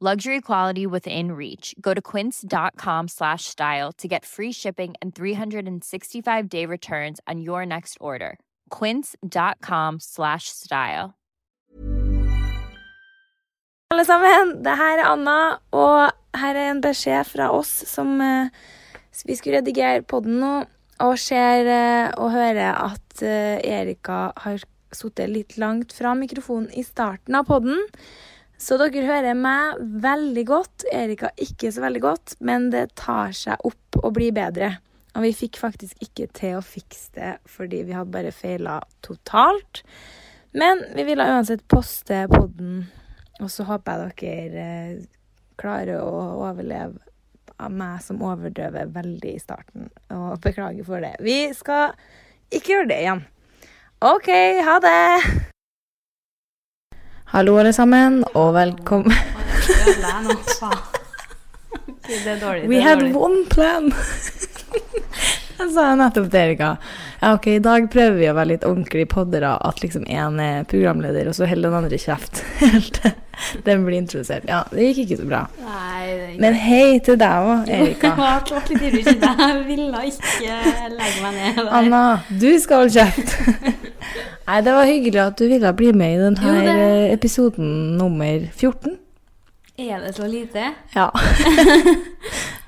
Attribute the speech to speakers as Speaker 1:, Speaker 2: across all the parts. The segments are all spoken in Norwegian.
Speaker 1: Luxury quality within reach. Go to quince.com slash style to get free shipping and 365 day returns on your next order. Quince.com slash style.
Speaker 2: alle sammen. Det her er Anna, og her er en beskjed fra oss som eh, Vi skulle redigere podden nå, og ser eh, og hører at eh, Erika har sittet litt langt fra mikrofonen i starten av podden. Så dere hører meg veldig godt. Erika ikke så veldig godt, men det tar seg opp og blir bedre. Og vi fikk faktisk ikke til å fikse det fordi vi hadde bare feila totalt. Men vi ville uansett poste podden og så håper jeg dere eh, klarer å overleve av meg som overdøver veldig i starten. Og beklager for det. Vi skal ikke gjøre det igjen. OK, ha det! Hallo, alle sammen, og velkommen.
Speaker 3: Det er dårlig.
Speaker 2: We had one plan. Jeg sa nettopp til Erika ja, ok, i dag prøver vi å være litt ordentlige poddere. At liksom én er programleder, og så holder den andre kjeft. Helt til Den blir introdusert. Ja, det gikk ikke så bra.
Speaker 3: Nei, det
Speaker 2: Men hei til deg òg, Erika.
Speaker 3: Jeg ble litt ivrig, kjente jeg. Jeg ville ikke legge meg ned der.
Speaker 2: Anna, du skal holde kjeft. Nei, det var hyggelig at du ville bli med i
Speaker 3: Jo,
Speaker 2: denne
Speaker 3: det-
Speaker 2: episoden nummer 14.
Speaker 3: Er det så lite?
Speaker 2: Ja.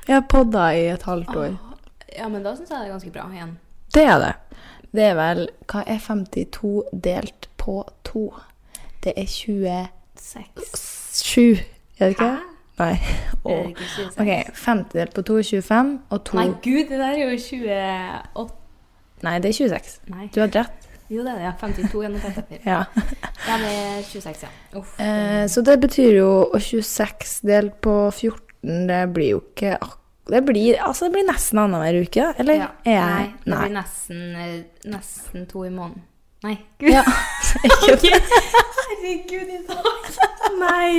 Speaker 2: Vi har podda i et halvt år.
Speaker 3: Ja, men da syns jeg det er ganske bra igjen.
Speaker 2: Det er det. Det er vel Hva er 52 delt på 2? Det er 27,
Speaker 3: Seks.
Speaker 2: er det ikke? Nei.
Speaker 3: Er det
Speaker 2: Åh.
Speaker 3: ikke 26?
Speaker 2: OK, 50 delt på 2 er 25, og 2
Speaker 3: Nei,
Speaker 2: Nei,
Speaker 3: gud, det der er jo 28
Speaker 2: det er 26.
Speaker 3: Nei.
Speaker 2: Du hadde rett.
Speaker 3: Jo, det er det. 52 gjennom 54.
Speaker 2: Ja.
Speaker 3: Ja, det er 26, ja. Uff.
Speaker 2: Eh, så det betyr jo og 26 delt på 14, det blir jo ikke ak- det blir, altså det blir nesten annenhver uke, da? Eller?
Speaker 3: Ja.
Speaker 2: Er
Speaker 3: Nei,
Speaker 2: jeg
Speaker 3: det blir nesten, eh, nesten to i måneden. Nei. Gud.
Speaker 2: Ja. Ikke det.
Speaker 3: Herregud, i dag.
Speaker 2: Nei!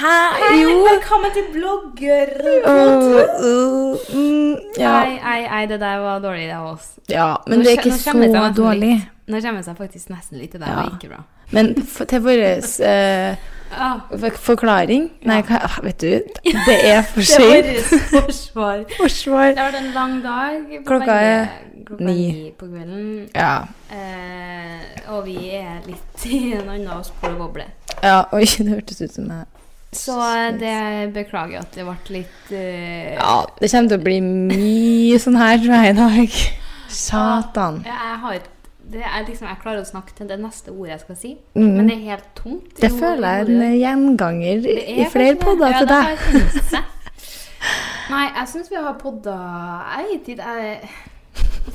Speaker 2: Hæ? Jo!
Speaker 3: Velkommen til blogger.
Speaker 2: Øh, øh, mm, ja.
Speaker 3: Nei, nei, nei, det der var dårlig av oss.
Speaker 2: ja, men
Speaker 3: Nå
Speaker 2: det er
Speaker 3: kje-
Speaker 2: ikke
Speaker 3: nå kjenner jeg
Speaker 2: så
Speaker 3: meg
Speaker 2: dårlig.
Speaker 3: Litt, nå kommer det seg faktisk nesten litt. Det der var ikke bra.
Speaker 2: Men for, til vår eh,
Speaker 3: Ah,
Speaker 2: for, forklaring Nei, hva, ah, vet du, det er for
Speaker 3: det var
Speaker 2: sent.
Speaker 3: vårt forsvar. Det
Speaker 2: Forsvar.
Speaker 3: har vært en lang dag. på
Speaker 2: Klokka
Speaker 3: begge- klokka
Speaker 2: ni.
Speaker 3: ni på kvelden.
Speaker 2: Ja.
Speaker 3: Eh, og vi er litt i en annen spor og boble.
Speaker 2: ja. Oi, det hørtes ut som jeg
Speaker 3: Så eh, det beklager at det ble litt eh,
Speaker 2: Ja, det kommer til å bli mye sånn her, tror jeg, i dag. Satan.
Speaker 3: ja, Jeg har et- det er liksom, jeg klarer å snakke til det neste ordet jeg skal si,
Speaker 2: Mm.
Speaker 3: men det er helt tomt. i
Speaker 2: Det
Speaker 3: ho-
Speaker 2: føler jeg er
Speaker 3: hodet.
Speaker 2: en gjenganger i
Speaker 3: Det
Speaker 2: i
Speaker 3: er
Speaker 2: flere
Speaker 3: kanskje det.
Speaker 2: podder
Speaker 3: Ja,
Speaker 2: til
Speaker 3: det
Speaker 2: deg.
Speaker 3: har jeg tenkt seg. Nei, jeg syns vi har podda Jeg vet ikke jeg,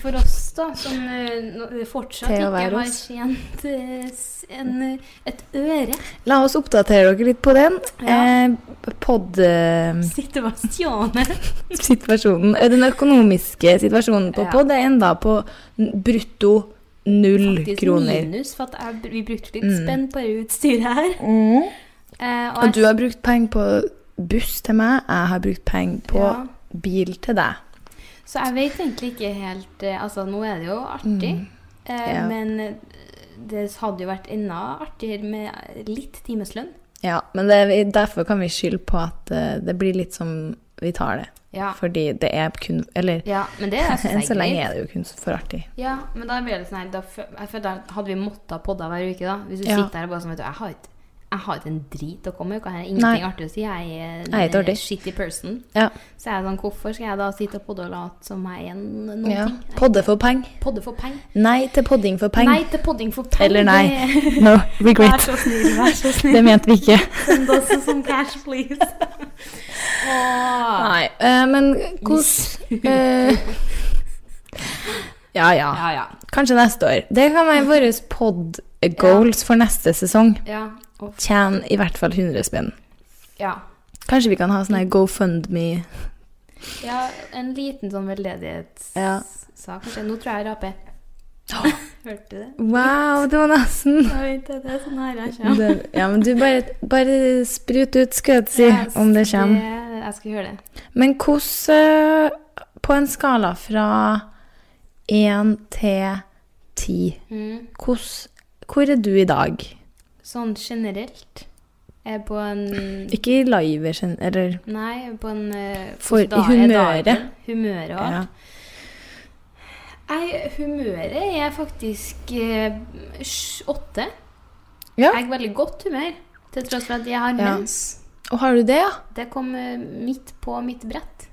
Speaker 3: For oss, da, som eh, nå- fortsatt
Speaker 2: Til å
Speaker 3: ikke
Speaker 2: være
Speaker 3: har
Speaker 2: oss.
Speaker 3: tjent eh, s- en, eh, et øre
Speaker 2: La oss oppdatere dere litt på den.
Speaker 3: Ja.
Speaker 2: Eh, pod... Eh,
Speaker 3: Sitter bare stjålet.
Speaker 2: situasjonen, eh, den økonomiske situasjonen på
Speaker 3: Ja.
Speaker 2: podd er enda på n- brutto null
Speaker 3: Faktisk
Speaker 2: kroner. Mm.
Speaker 3: minus, for at jeg, vi brukte litt spenn på det utstyret her. Eh,
Speaker 2: Og du har brukt penger på buss til meg, jeg har brukt penger på
Speaker 3: Ja.
Speaker 2: bil til deg.
Speaker 3: Så jeg vet egentlig ikke helt eh, Altså, nå er det jo artig, eh,
Speaker 4: Mm. Ja.
Speaker 3: men det hadde jo vært enda artigere med litt timeslønn.
Speaker 4: Ja, men det, er vi- derfor kan vi skylde på at eh, det blir litt som vi tar det.
Speaker 3: Ja.
Speaker 4: Fordi det er kun Eller
Speaker 3: Ja, men det synes jeg
Speaker 4: enn så
Speaker 3: er
Speaker 4: lenge
Speaker 3: greit.
Speaker 4: er det jo kun for artig.
Speaker 3: Ja, men da blir det sånn her da, fø- Jeg føler da hadde vi måttet ha podda hver uke, da. Hvis du
Speaker 4: Ja.
Speaker 3: sitter der og bare sånn, vet du, jeg har ikke jeg har ikke en drit å komme med. Jeg har ingenting
Speaker 4: Nei.
Speaker 3: artig å si. Jeg er en
Speaker 4: Jeg er ikke
Speaker 3: eh,
Speaker 4: artig.
Speaker 3: shitty person.
Speaker 4: Ja.
Speaker 3: Så jeg er sånn, hvorfor skal jeg da sitte og podde og late som jeg er en- noen
Speaker 4: ja.
Speaker 3: ting? Jeg-
Speaker 4: Podde for peng.
Speaker 3: Podde for peng.
Speaker 4: Nei til podding for peng.
Speaker 3: Nei til podding for peng.
Speaker 4: Eller nei.
Speaker 3: Det-
Speaker 4: No
Speaker 3: Vær
Speaker 4: regret.
Speaker 3: så snill, vær så snill.
Speaker 4: Det mente vi ikke.
Speaker 3: Send oss som cash, please. Åh.
Speaker 4: Nei, eh, men hvordan eh, Ja, ja.
Speaker 3: Ja, ja.
Speaker 4: Kanskje neste år. Det kan være våre pod goals for neste sesong.
Speaker 3: Ja. og-
Speaker 4: Tjen i hvert fall 100 spenn.
Speaker 3: ja.
Speaker 4: Kanskje vi kan ha sånn her GoFundMe
Speaker 3: ja en liten sånn veldedighetssak,
Speaker 4: Ja.
Speaker 3: kanskje. Nå tror jeg jeg raper. Hørte du det?
Speaker 4: Wow, det var nesten
Speaker 3: Jeg vet det, det er sånn her jeg kommer.
Speaker 4: det, Ja, men du bare, bare sprut ut, skulle jeg til å si, om det kommer.
Speaker 3: Det, jeg skal gjøre det.
Speaker 4: Men hvordan eh, På en skala fra én til ti,
Speaker 3: Mm.
Speaker 4: hvordan Hvor er du i dag?
Speaker 3: Sånn generelt. Jeg er på en
Speaker 4: Ikke i live, skjønner- eller
Speaker 3: Nei, på en eh,
Speaker 4: For-
Speaker 3: hvordan
Speaker 4: i
Speaker 3: er
Speaker 4: humøret.
Speaker 3: dagen? Humøret og alt.
Speaker 4: ja.
Speaker 3: Nei, humøret er faktisk eh, sj- åtte.
Speaker 4: Ja.
Speaker 3: Jeg er i veldig godt humør, til tross for at jeg har
Speaker 4: Ja.
Speaker 3: mens.
Speaker 4: Og har du det, ja?
Speaker 3: Det kom eh, midt på mitt brett.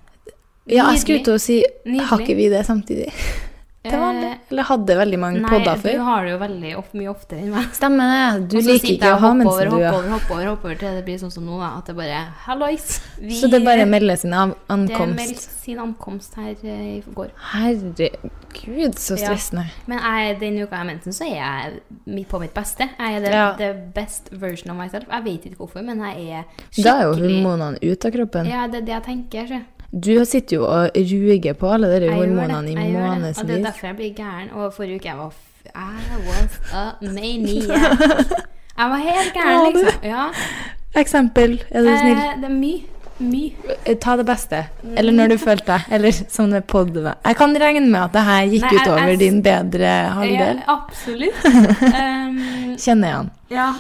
Speaker 4: Ja, jeg skulle
Speaker 3: Nydelig.
Speaker 4: til å si Har
Speaker 3: Nydelig.
Speaker 4: ikke vi det samtidig? Det var det.
Speaker 3: Eh,
Speaker 4: Eller hadde veldig mange
Speaker 3: Nei,
Speaker 4: podder
Speaker 3: du
Speaker 4: før?
Speaker 3: har det jo veldig of mye oftere enn meg.
Speaker 4: Stemmer det. Du
Speaker 3: Og så
Speaker 4: liker
Speaker 3: sitter
Speaker 4: ikke
Speaker 3: jeg
Speaker 4: å
Speaker 3: og
Speaker 4: ha
Speaker 3: hopper
Speaker 4: mensen,
Speaker 3: over,
Speaker 4: du, ja.
Speaker 3: Hopper over, hopper over, hopper over, til det blir sånn som nå, da. At det bare Hallois! vi-
Speaker 4: Så det bare melder sin av-
Speaker 3: Det er meldt
Speaker 4: ankomst.
Speaker 3: sin ankomst her eh, i går.
Speaker 4: Herregud, så
Speaker 3: Ja.
Speaker 4: stressende.
Speaker 3: Men jeg, den uka jeg har mensen, så er jeg mi- på mitt beste. Jeg er the,
Speaker 4: Ja.
Speaker 3: the best version of myself. Jeg vet ikke hvorfor, men jeg er skikkelig
Speaker 4: Da er jo hormonene ute av kroppen.
Speaker 3: Ja, det er det jeg tenker. Så.
Speaker 4: Du sitter jo og ruger på alle de
Speaker 3: Jeg gjør det,
Speaker 4: hormonene i
Speaker 3: jeg gjør det. Og det er
Speaker 4: månedsvis.
Speaker 3: derfor jeg blir gæren. Og forrige uke jeg var f I was a maniac. Jeg var helt gæren,
Speaker 4: Var du?
Speaker 3: liksom. Ja.
Speaker 4: Eksempel, er du snill?
Speaker 3: Eh, det er mye. Mye.
Speaker 4: Ta det beste.
Speaker 3: mm.
Speaker 4: Eller når du følte deg. Eller som det podde Jeg kan regne med at det her gikk
Speaker 3: Nei, jeg-
Speaker 4: utover
Speaker 3: jeg-
Speaker 4: din bedre
Speaker 3: Ja,
Speaker 4: halvdel.
Speaker 3: absolutt. Um,
Speaker 4: Kjenner jeg han.
Speaker 3: ja,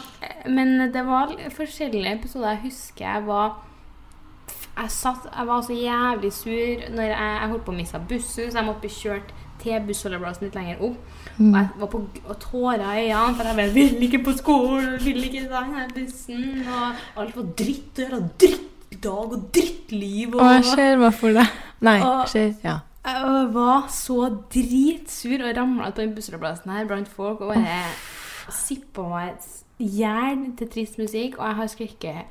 Speaker 3: men det var l- forskjellige episoder. Jeg husker jeg var jeg, satt, jeg var så jævlig sur når jeg, jeg holdt på å miste bussen, så jeg måtte bli kjørt til bussholdeplassen litt lenger opp.
Speaker 4: Mm.
Speaker 3: Og jeg var på g- og tårer i øynene, for jeg bare ville ikke på skolen, ville ikke ta denne bussen. Og alt var dritt å gjøre, og drittdag og drittliv.
Speaker 4: Å,
Speaker 3: Og
Speaker 4: jeg ser hva for deg. Nei,
Speaker 3: Og-
Speaker 4: skjer. Ja.
Speaker 3: jeg var så dritsur og ramla på den bussholdeplassen her blant folk og bare sippa meg et jern til trist musikk, og jeg har skrekket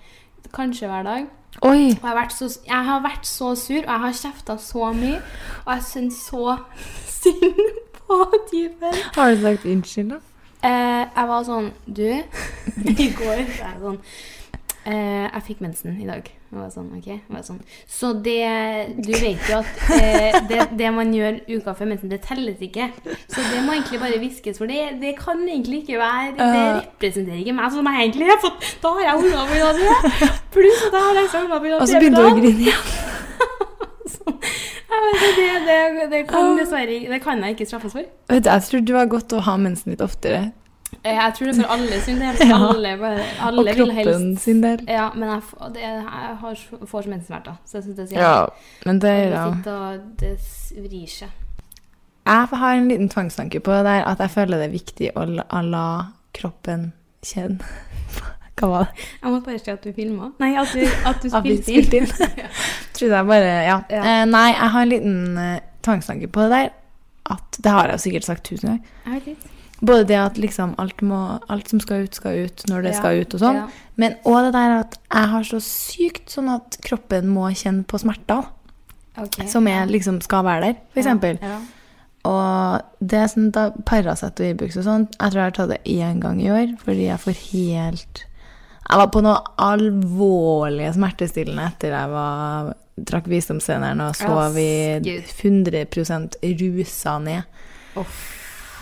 Speaker 3: kanskje hver dag.
Speaker 4: Oi!
Speaker 3: Og jeg har vært så, jeg har vært så sur, og jeg har kjefta så mye, og jeg syns så synd på typen.
Speaker 4: Har du sagt unnskyld, da?
Speaker 3: Eh, jeg var sånn Du, i går så er jeg sånn eh, Jeg fikk mensen i dag. Jeg var sånn, ok? Jeg var sånn. Så det Du vet jo at eh, det, det man gjør uka før mensen, det telles ikke. Så det må egentlig bare viskes, for det, det kan egentlig ikke være Det
Speaker 4: Ja.
Speaker 3: representerer ikke meg Altså, som jeg egentlig er. For da har jeg ungene mine allerede. Pluss at jeg har lest ungene mine
Speaker 4: Og så Altså, begynte du å grine igjen.
Speaker 3: Det, det, det kan
Speaker 4: Ah.
Speaker 3: dessverre ikke- Det kan jeg ikke straffes for.
Speaker 4: Vet du, Jeg tror du har godt av å ha mensen litt oftere.
Speaker 3: Eh, Jeg tror det er for alle sin del.
Speaker 4: Ja.
Speaker 3: Alle, bare, alle
Speaker 4: og
Speaker 3: vil helst
Speaker 4: kroppen sin del.
Speaker 3: Ja, men jeg, f- det, jeg har, s- får så mensensmerter. Så jeg syns det er så
Speaker 4: Ja, men det
Speaker 3: jævlig.
Speaker 4: gjør
Speaker 3: Og
Speaker 4: jeg.
Speaker 3: det sitter og det s- vrir seg.
Speaker 4: Jeg har en liten tvangstanke på det der at jeg føler det er viktig å la, å la kroppen kjenne Hva var det?
Speaker 3: Jeg måtte bare si at du filma. Nei, at du, at du
Speaker 4: At vi
Speaker 3: spilte inn.
Speaker 4: spilte inn. Trodde jeg bare Ja.
Speaker 3: Ja.
Speaker 4: Eh, nei, jeg har en liten eh, tvangstanke på det der. At Det har jeg jo sikkert sagt tusen ganger.
Speaker 3: Jeg vet ikke.
Speaker 4: Både det at liksom alt, må, alt som skal ut, skal ut når det
Speaker 3: Ja,
Speaker 4: skal ut og sånn.
Speaker 3: ja.
Speaker 4: Men òg det der at jeg har så sykt sånn at kroppen må kjenne på smerter
Speaker 3: Ok.
Speaker 4: som er, liksom skal være der, f.eks. eksempel.
Speaker 3: Ja.
Speaker 4: Og det er sånn da Paracet og Ibux og sånt, jeg tror jeg har tatt det én gang i år fordi jeg får helt Jeg var på noe alvorlige smertestillende etter jeg var, drakk Visdomssceneren og sov i
Speaker 3: Gud.
Speaker 4: 100 rusa ned.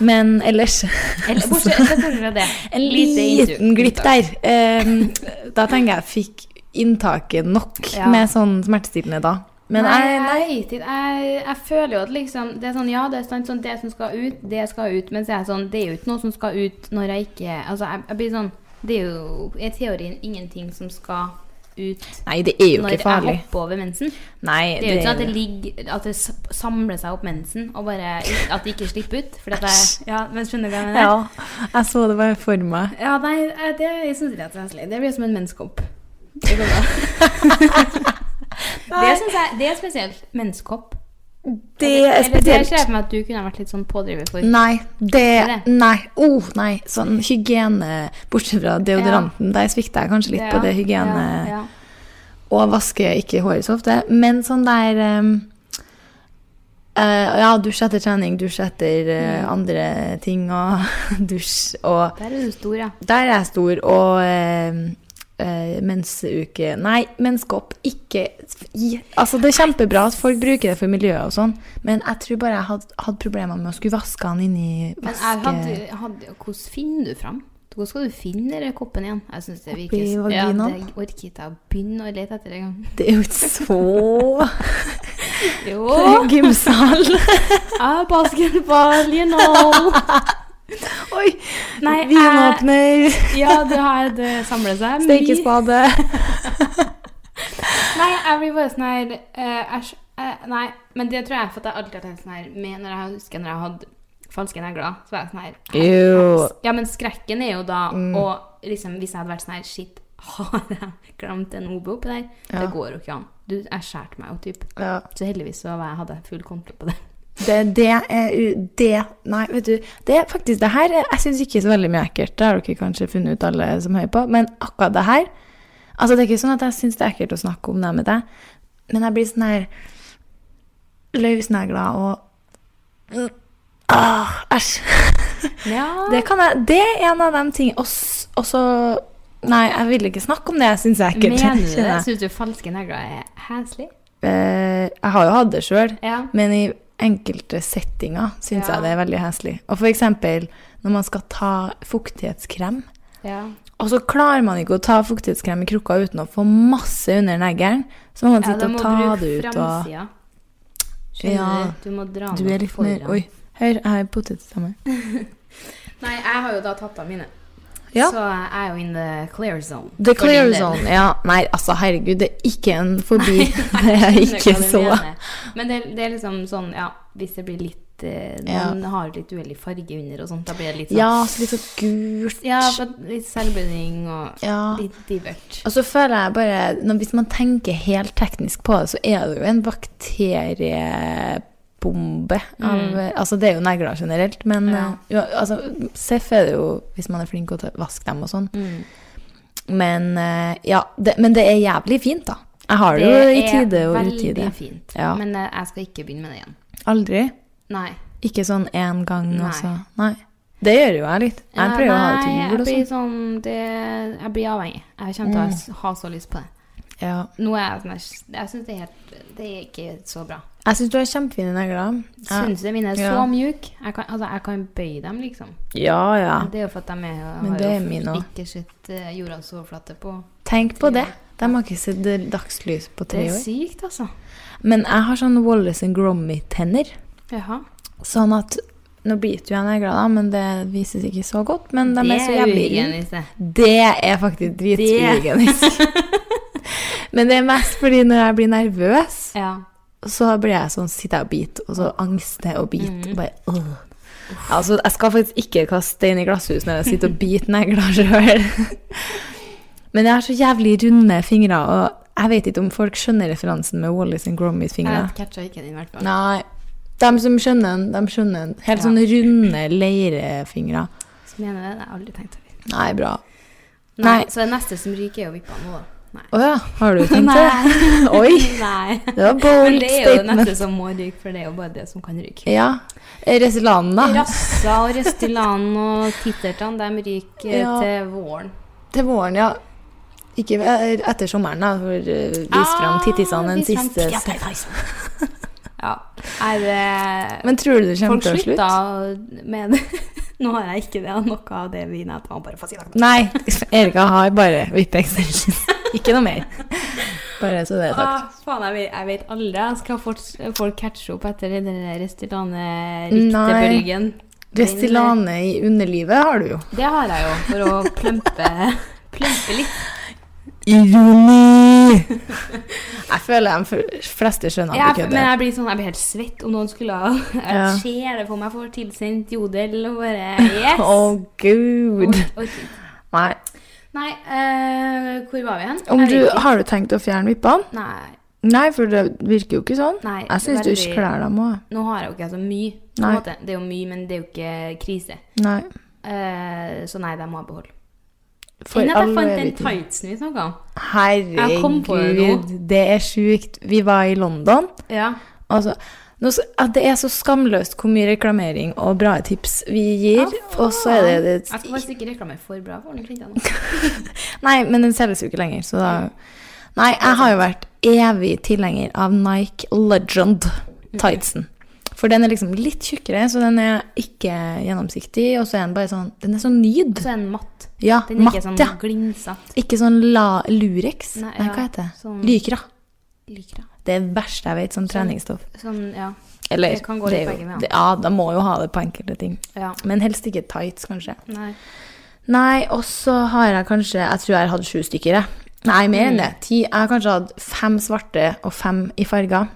Speaker 4: Men ellers
Speaker 3: Eller bortsett se bort fra det.
Speaker 4: En
Speaker 3: Lite
Speaker 4: liten
Speaker 3: inntrykk.
Speaker 4: glipp der. Ehm, da tenker jeg fikk inntaket nok
Speaker 3: Ja.
Speaker 4: med sånn smertestillende da. Men
Speaker 3: nei,
Speaker 4: jeg, nei,
Speaker 3: jeg, jeg, jeg, jeg føler jo at liksom Det er sånn, ja, det er sant, sånn, det som skal ut, det skal ut. Men så er jeg sånn, det er jo ikke noe som skal ut når jeg ikke Altså, jeg, jeg blir sånn Det er jo i teorien ingenting som skal ut
Speaker 4: nei, det er jo
Speaker 3: når jeg
Speaker 4: ikke farlig.
Speaker 3: hopper over mensen.
Speaker 4: Nei,
Speaker 3: Det er jo ikke sånn at
Speaker 4: det-
Speaker 3: det, ligger, at det s- samler seg opp mensen, og bare at det ikke slipper ut. Fordi at jeg, ja, men skjønner du hva jeg mener?
Speaker 4: Ja, jeg så det bare for meg.
Speaker 3: Ja, nei, jeg- det jeg synes jeg er heslig. Det blir som en menskopp. Det går bra. det synes jeg det er spesielt. Menskopp.
Speaker 4: Det er
Speaker 3: Eller det ser jeg
Speaker 4: spesielt. Mm,
Speaker 3: for meg at du kunne ha vært litt sånn pådriver for.
Speaker 4: Nei, det
Speaker 3: det?
Speaker 4: Nei. Oh, nei. Sånn hygiene Bortsett fra deodoranten, der svikter jeg kanskje litt på det hygiene...
Speaker 3: Ja, ja.
Speaker 4: Og vasker ikke håret så ofte. Men sånn der ehm, eh, Ja, dusj etter trening, dusj etter eh,
Speaker 3: Mm.
Speaker 4: andre ting og dusj og
Speaker 3: Der er du stor, ja.
Speaker 4: Der er jeg stor. Og ehm, eh, mensuke Nei, menskopp. Ikke gi Altså, det er kjempebra at folk bruker det for miljøet og sånn, men jeg tror bare jeg hadde, hadde problemer med å skulle vaske han inni
Speaker 3: Men
Speaker 4: vaske...
Speaker 3: jeg hadde, hadde, hvordan finner du fram? Hvordan skal du finne den koppen igjen? Jeg synes det virker...
Speaker 4: Oppi
Speaker 3: Ja,
Speaker 4: vaginaen.
Speaker 3: det orker ikke jeg å begynne å lete etter det engang.
Speaker 4: Det er jo ikke så
Speaker 3: Jo,
Speaker 4: Gymsal.
Speaker 3: ah, basketball, you know.
Speaker 4: Oi!
Speaker 3: Nei, jeg,
Speaker 4: Vinåpner,
Speaker 3: ja, det, har, det samler seg mye.
Speaker 4: stekespade
Speaker 3: Nei, jeg blir bare sånn her eh, æsj, eh, Nei, men det tror jeg er for at jeg alltid har tenkt sånn her med når jeg husker når jeg hadde falske negler. Så var jeg sånn her
Speaker 4: Jo.
Speaker 3: Ja, men skrekken er jo da
Speaker 4: Mm.
Speaker 3: Og liksom, hvis jeg hadde vært sånn her Shit, har jeg glemt en OB oppi der? Det går jo ikke an. Du, jeg skjærte meg jo, typ.
Speaker 4: Ja.
Speaker 3: Så heldigvis så var jeg, hadde jeg full kontroll på det.
Speaker 4: Det, det er u- det Nei, vet du. Det er faktisk det her er- Jeg syns ikke så veldig mye ekkelt. Det har dere kanskje funnet ut, alle som hører på. Men akkurat det her Altså, det er ikke sånn at jeg syns det er ekkelt å snakke om det med deg, men jeg blir sånn her Løsnegler og Mm. Ah, Æsj.
Speaker 3: Ja.
Speaker 4: Det, kan jeg- det er en av de tingene Og s- og så Nei, jeg vil ikke snakke om det. Jeg syns det er ekkelt.
Speaker 3: Mener du det?
Speaker 4: kjenner jeg.
Speaker 3: Syns du falske negler er heslig?
Speaker 4: Eh, Jeg har jo hatt det sjøl.
Speaker 3: Ja.
Speaker 4: Men i enkelte settinger syns
Speaker 3: Ja.
Speaker 4: jeg det er veldig heslig. Og for eksempel når man skal ta fuktighetskrem,
Speaker 3: ja.
Speaker 4: og så klarer man ikke å ta fuktighetskrem i krukka uten å få masse under neglen, så må man
Speaker 3: Ja, da
Speaker 4: sitte
Speaker 3: må
Speaker 4: og
Speaker 3: du
Speaker 4: ta
Speaker 3: bruke
Speaker 4: det ut og
Speaker 3: framsida. Skjønner
Speaker 4: Ja.
Speaker 3: du? Du må dra
Speaker 4: Du
Speaker 3: noe
Speaker 4: er litt mer
Speaker 3: foran.
Speaker 4: Oi, hør, jeg har potetstamme.
Speaker 3: Nei, jeg har jo da tatt av mine.
Speaker 4: Ja.
Speaker 3: Så jeg er jo in the clear zone.
Speaker 4: The
Speaker 3: For din
Speaker 4: clear
Speaker 3: del.
Speaker 4: zone. Ja, nei, altså, herregud, det er ikke en forbi. Det er
Speaker 3: Jeg skjønner
Speaker 4: ikke
Speaker 3: hva du
Speaker 4: så
Speaker 3: mener. Men det, det er liksom sånn, ja, hvis det blir litt eh, Noen har litt uheldig farge under og sånt, da blir det litt sånn
Speaker 4: Ja, så litt sånn gult.
Speaker 3: Ja, for litt selvbinding og
Speaker 4: Ja.
Speaker 3: litt divert.
Speaker 4: Og så føler jeg bare når, Hvis man tenker helt teknisk på det, så er det jo en bakteriebombe. Av, Altså, det er jo negler generelt, men
Speaker 3: Mm. Ja.
Speaker 4: eh, jo, altså, Seff er det jo hvis man er flink til å vaske dem og sånn.
Speaker 3: Mm.
Speaker 4: Men, eh, ja, det, men det er jævlig fint, da. Jeg har det, jo i tide og utide.
Speaker 3: veldig fint.
Speaker 4: Ja.
Speaker 3: Men eh, jeg skal ikke begynne med det igjen.
Speaker 4: Aldri.
Speaker 3: Nei.
Speaker 4: Ikke sånn én gang,
Speaker 3: Nei.
Speaker 4: og så Nei. Det gjør jo jeg litt. Jeg prøver å ha det til
Speaker 3: Nei,
Speaker 4: jul og
Speaker 3: Jeg blir
Speaker 4: sånn. Mm.
Speaker 3: sånn det, Jeg blir avhengig. Jeg kommer til å s- ha så lyst på det.
Speaker 4: Ja.
Speaker 3: Nå er jeg sånn her- Jeg syns det er helt Det er ikke så bra.
Speaker 4: Jeg syns du har kjempefine negler. Ja.
Speaker 3: Syns jeg mine er så
Speaker 4: Ja.
Speaker 3: mjuke. Jeg, kan- altså, jeg kan bøye dem, liksom.
Speaker 4: ja, ja.
Speaker 3: Det er jo for at de er,
Speaker 4: Men
Speaker 3: har
Speaker 4: det er
Speaker 3: jo
Speaker 4: mine også.
Speaker 3: ikke sett eh, jordas overflate på
Speaker 4: Tenk på det. De har ikke sett dagslys på
Speaker 3: Det
Speaker 4: tre
Speaker 3: er
Speaker 4: år.
Speaker 3: sykt, altså.
Speaker 4: Men jeg har sånn Wallace and Grommy-tenner.
Speaker 3: Jaha.
Speaker 4: Sånn at Nå biter jo jeg negler, da, men det vises ikke så godt. Men de er så jævlig
Speaker 3: uhygienisk, det.
Speaker 4: Det er faktisk drituhygienisk. men det er mest fordi når jeg blir nervøs,
Speaker 3: Ja.
Speaker 4: så blir jeg sånn, sitter jeg og biter, og så
Speaker 3: Mm.
Speaker 4: angster jeg og biter. Og bare, øh. Altså, jeg skal faktisk ikke kaste stein i glasshus når jeg sitter og biter negler sjøl. Men jeg har så jævlig runde fingre, og jeg vet ikke om folk skjønner referansen med Wallis and Grommys fingre.
Speaker 3: Jeg catcha ikke den, i hvert fall.
Speaker 4: Nei. De som skjønner den, de skjønner den. Helt sånne runde leirefingre.
Speaker 3: Så mener jeg det. Jeg har aldri tenkt over det.
Speaker 4: Nei, bra.
Speaker 3: Nei.
Speaker 4: Nei.
Speaker 3: Så det neste som ryker, er jo vippa nå, da. Nei.
Speaker 4: Å ja, har du tenkt det? Oi!
Speaker 3: Nei.
Speaker 4: Det var
Speaker 3: Men
Speaker 4: bold
Speaker 3: det er jo det
Speaker 4: statement.
Speaker 3: neste som må ryke, for det er jo bare det som kan ryke.
Speaker 4: Ja. Resilanen, da.
Speaker 3: Ah. Rassa og Restylane og Tittertan, de ryker eh,
Speaker 4: Ja.
Speaker 3: til våren.
Speaker 4: Til våren, ja. Ikke eh, etter sommeren, da, for eh, vis fram tittisene den
Speaker 3: Ah, vis fram
Speaker 4: siste
Speaker 3: tittisene. Ja. Er det
Speaker 4: Men tror du det kommer
Speaker 3: Folk
Speaker 4: til å
Speaker 3: slutta
Speaker 4: slutte?
Speaker 3: med det. Nå har jeg ikke det, og noe av det vinet jeg tar, bare for å si det.
Speaker 4: Nei, Erika har bare vippe extensions. Ikke noe mer. Bare så det er sagt.
Speaker 3: Ah, faen, jeg vet, jeg vet aldri. Skal folk, folk catche opp etter den der
Speaker 4: Nei.
Speaker 3: Restylane-riktebølgen?
Speaker 4: Restylane i underlivet har du jo.
Speaker 3: Det har jeg jo, for å plømpe, plømpe litt.
Speaker 4: Ironi! Jeg føler de f- fleste skjønner
Speaker 3: Ja,
Speaker 4: at du
Speaker 3: men
Speaker 4: kødder.
Speaker 3: jeg blir sånn, jeg blir helt svett om noen skulle ha Jeg
Speaker 4: Ja.
Speaker 3: ser det for meg, får tilsendt jodel og bare Yes!
Speaker 4: Å, gud.
Speaker 3: Og- og-
Speaker 4: Nei.
Speaker 3: Nei, eh, hvor var vi hen?
Speaker 4: Om
Speaker 3: Jeg
Speaker 4: du,
Speaker 3: vet ikke.
Speaker 4: har du tenkt å fjerne vippene?
Speaker 3: Nei,
Speaker 4: Nei, for det virker jo ikke sånn.
Speaker 3: Nei,
Speaker 4: jeg syns du
Speaker 3: veldig-
Speaker 4: ikke kler dem òg.
Speaker 3: nå har jeg jo ikke så mye. På
Speaker 4: Nei.
Speaker 3: en måte. Det er jo mye, men det er jo ikke krise.
Speaker 4: Nei.
Speaker 3: Eh, så nei, det må jeg beholde.
Speaker 4: For
Speaker 3: Enn at jeg
Speaker 4: alle
Speaker 3: fant den
Speaker 4: vet ikke.
Speaker 3: tightsen vi snakka om. Jeg kom på det nå.
Speaker 4: Herregud, det er sjukt. Vi var i London.
Speaker 3: Ja.
Speaker 4: Altså, nå, s- at det er så skamløst hvor mye reklamering og bra tips vi gir. og så er det,
Speaker 3: Jeg skal
Speaker 4: det
Speaker 3: faktisk ikke reklame for bra for den klinta nå.
Speaker 4: Nei, eh, men den selges jo ikke lenger, så da Nei, jeg har jo vært evig tilhenger av Nike Legend tightsen. For den er liksom litt tjukkere, så den er ikke gjennomsiktig. Og så er den bare sånn Den er sånn nyd.
Speaker 3: Så er den matt.
Speaker 4: Ja,
Speaker 3: Den er
Speaker 4: matt,
Speaker 3: ikke sånn
Speaker 4: ja.
Speaker 3: glinsete.
Speaker 4: Ikke sånn la Lurex. Nei,
Speaker 3: Nei, ja,
Speaker 4: hva heter det?
Speaker 3: sånn-
Speaker 4: Lykra.
Speaker 3: Liker det.
Speaker 4: Det er det verste jeg vet som treningsstoff.
Speaker 3: Sånn, ja.
Speaker 4: Eller,
Speaker 3: det kan gå litt
Speaker 4: er jo-
Speaker 3: begge veier.
Speaker 4: det- Ja, da må jo ha det på enkelte ting.
Speaker 3: ja.
Speaker 4: Men helst ikke tights, kanskje.
Speaker 3: Nei.
Speaker 4: Nei, og så har jeg kanskje Jeg tror jeg hadde sju stykker, jeg. Nei, mer
Speaker 3: Mm.
Speaker 4: enn det. Ti. Jeg har kanskje hatt fem svarte og fem i farger.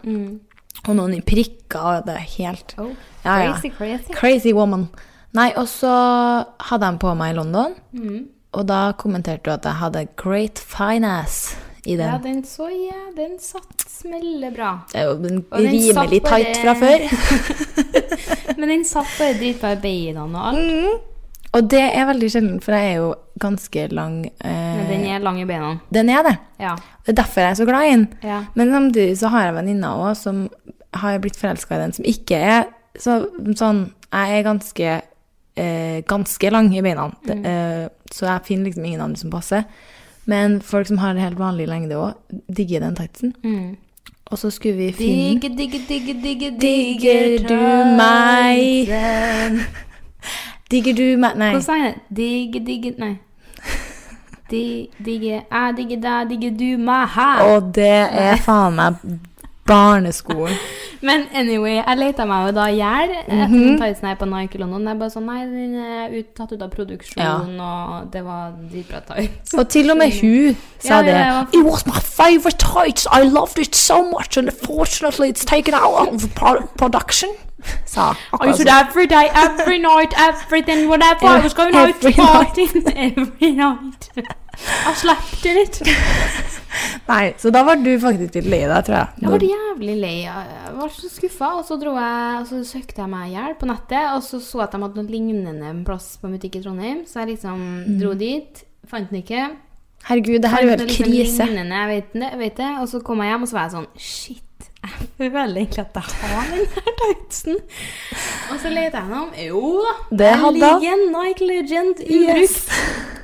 Speaker 4: Og noen i prikker og det er helt
Speaker 3: Mm. Oh,
Speaker 4: Ja, ja.
Speaker 3: crazy, crazy.
Speaker 4: Crazy woman. Nei, og så hadde jeg den på meg i London,
Speaker 3: Mm.
Speaker 4: og da kommenterte du at jeg hadde great fine ass i den.
Speaker 3: Ja, den så ja, den satt smellebra.
Speaker 4: Det er jo den
Speaker 3: Og den satt
Speaker 4: rimelig
Speaker 3: bare-
Speaker 4: tight fra før.
Speaker 3: Men den satt bare dritbra i beina og alt.
Speaker 4: Og det er veldig sjelden, for jeg er jo ganske lang.
Speaker 3: Men
Speaker 4: Eh,
Speaker 3: den er lang i beina.
Speaker 4: den er det.
Speaker 3: Ja.
Speaker 4: Det er derfor jeg er så glad i den.
Speaker 3: Ja.
Speaker 4: Men samtidig så har jeg venninner òg som har blitt forelska i den, som ikke er så, sånn Jeg er ganske, eh, ganske lang i beina, Det- eh, så jeg finner liksom ingen andre som passer. Men folk som har en helt vanlig lengde òg, digger den tightsen. Og så skulle vi finne
Speaker 3: Digge, digge, digge, digge,
Speaker 4: Digger du meg? Digger du meg Nei.
Speaker 3: Hvordan sang jeg det? Digge, digge Nei. Di, digge, jeg digger deg, digger du meg her?
Speaker 4: Og det er faen meg barneskolen.
Speaker 3: Men anyway, jeg leta meg jo da i hjel etter
Speaker 4: Mhm.
Speaker 3: den tightsen her på Nike London. Jeg bare sånn Nei, den er ut, tatt ut av produksjon, og det var dritbra tights.
Speaker 4: Og til og med hun
Speaker 3: Ja,
Speaker 4: sa
Speaker 3: ja, ja.
Speaker 4: det. It was my favorite tights. I loved it so much. And fortunately it's taken out of pro- production. Sa
Speaker 3: I used it every day, every night, everything, whatever. I was going out
Speaker 4: Every
Speaker 3: to party every night. I slept in it.
Speaker 4: Nei, så da var du faktisk litt lei deg, tror jeg.
Speaker 3: Jeg var jævlig lei. Jeg var så skuffa. Og så, dro jeg, og så søkte jeg meg i hjel på nettet, og så så jeg at de hadde noe lignende en plass på en butikk i Trondheim. Så jeg liksom dro dit. Fant den ikke.
Speaker 4: Herregud, det her er sånn jo
Speaker 3: Fant noe
Speaker 4: helt
Speaker 3: liksom
Speaker 4: krise.
Speaker 3: Lignende, jeg vet det, jeg vet det. Og så kom jeg hjem, og så var jeg sånn Shit. Jeg føler egentlig at jeg har den her tightsen. Og så leter jeg gjennom. Jo da.
Speaker 4: Det hadde
Speaker 3: ligger
Speaker 4: jeg.
Speaker 3: en Nike Legend i bruk.
Speaker 4: Yes.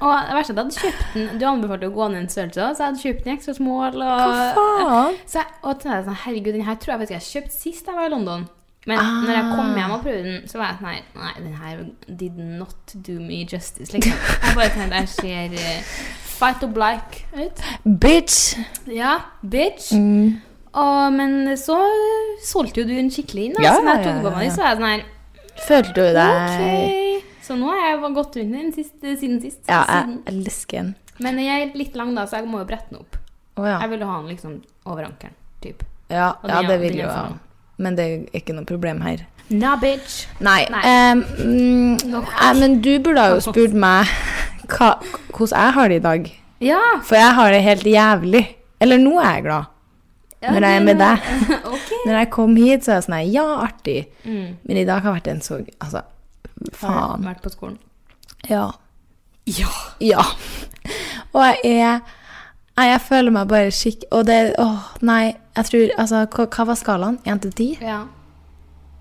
Speaker 3: Og det verste er at jeg hadde kjøpt den Du anbefalte å gå ned en størrelse, også, så jeg hadde kjøpt den i ekstra smål. Og,
Speaker 4: faen?
Speaker 3: Så jeg, og tenkte jeg sånn, herregud, den her tror jeg faktisk jeg kjøpte sist jeg var i London. Men når jeg kom hjem og prøvde den, så var jeg sånn her Nei, den her did not do me justice, liksom. Jeg bare tenkte jeg ser eh, fight or black ut.
Speaker 4: Bitch. Mm.
Speaker 3: Ja, bitch. Og, men så solgte jo du den skikkelig inn, da.
Speaker 4: Ja,
Speaker 3: så når jeg
Speaker 4: ja,
Speaker 3: tok
Speaker 4: ja,
Speaker 3: på meg den,
Speaker 4: ja.
Speaker 3: så var jeg sånn her
Speaker 4: Følte du deg
Speaker 3: Ok. Så nå har jeg bare gått rundt den sist, eh, siden sist.
Speaker 4: Ja, jeg
Speaker 3: siden.
Speaker 4: elsker den.
Speaker 3: Men jeg er litt lang, da, så jeg må jo brette den opp.
Speaker 4: Å ja.
Speaker 3: Jeg ville ha den liksom over ankelen. Typ.
Speaker 4: ja.
Speaker 3: Og
Speaker 4: Ja,
Speaker 3: den er-
Speaker 4: det vil
Speaker 3: den er
Speaker 4: jo
Speaker 3: for lang.
Speaker 4: Men det er ikke noe problem her.
Speaker 3: Nah, bitch.
Speaker 4: Nei.
Speaker 3: Nei.
Speaker 4: ehm, mm,
Speaker 3: Nok.
Speaker 4: eh, men du burde ha jo spurt meg hva, hvordan jeg har det i dag.
Speaker 3: Ja!
Speaker 4: For jeg har det helt jævlig. Eller nå er jeg glad. Når jeg er med deg.
Speaker 3: ok.
Speaker 4: Når jeg kom hit, så er jeg sånn her, Ja, artig. Men i dag har vært en så Altså, faen.
Speaker 3: Vært på skolen.
Speaker 4: Ja. Ja. Og jeg er Nei, jeg føler meg bare skikk... Og det Åh, nei. Jeg tror Altså, hva, hva var skalaen? Én til ti?
Speaker 3: Ja.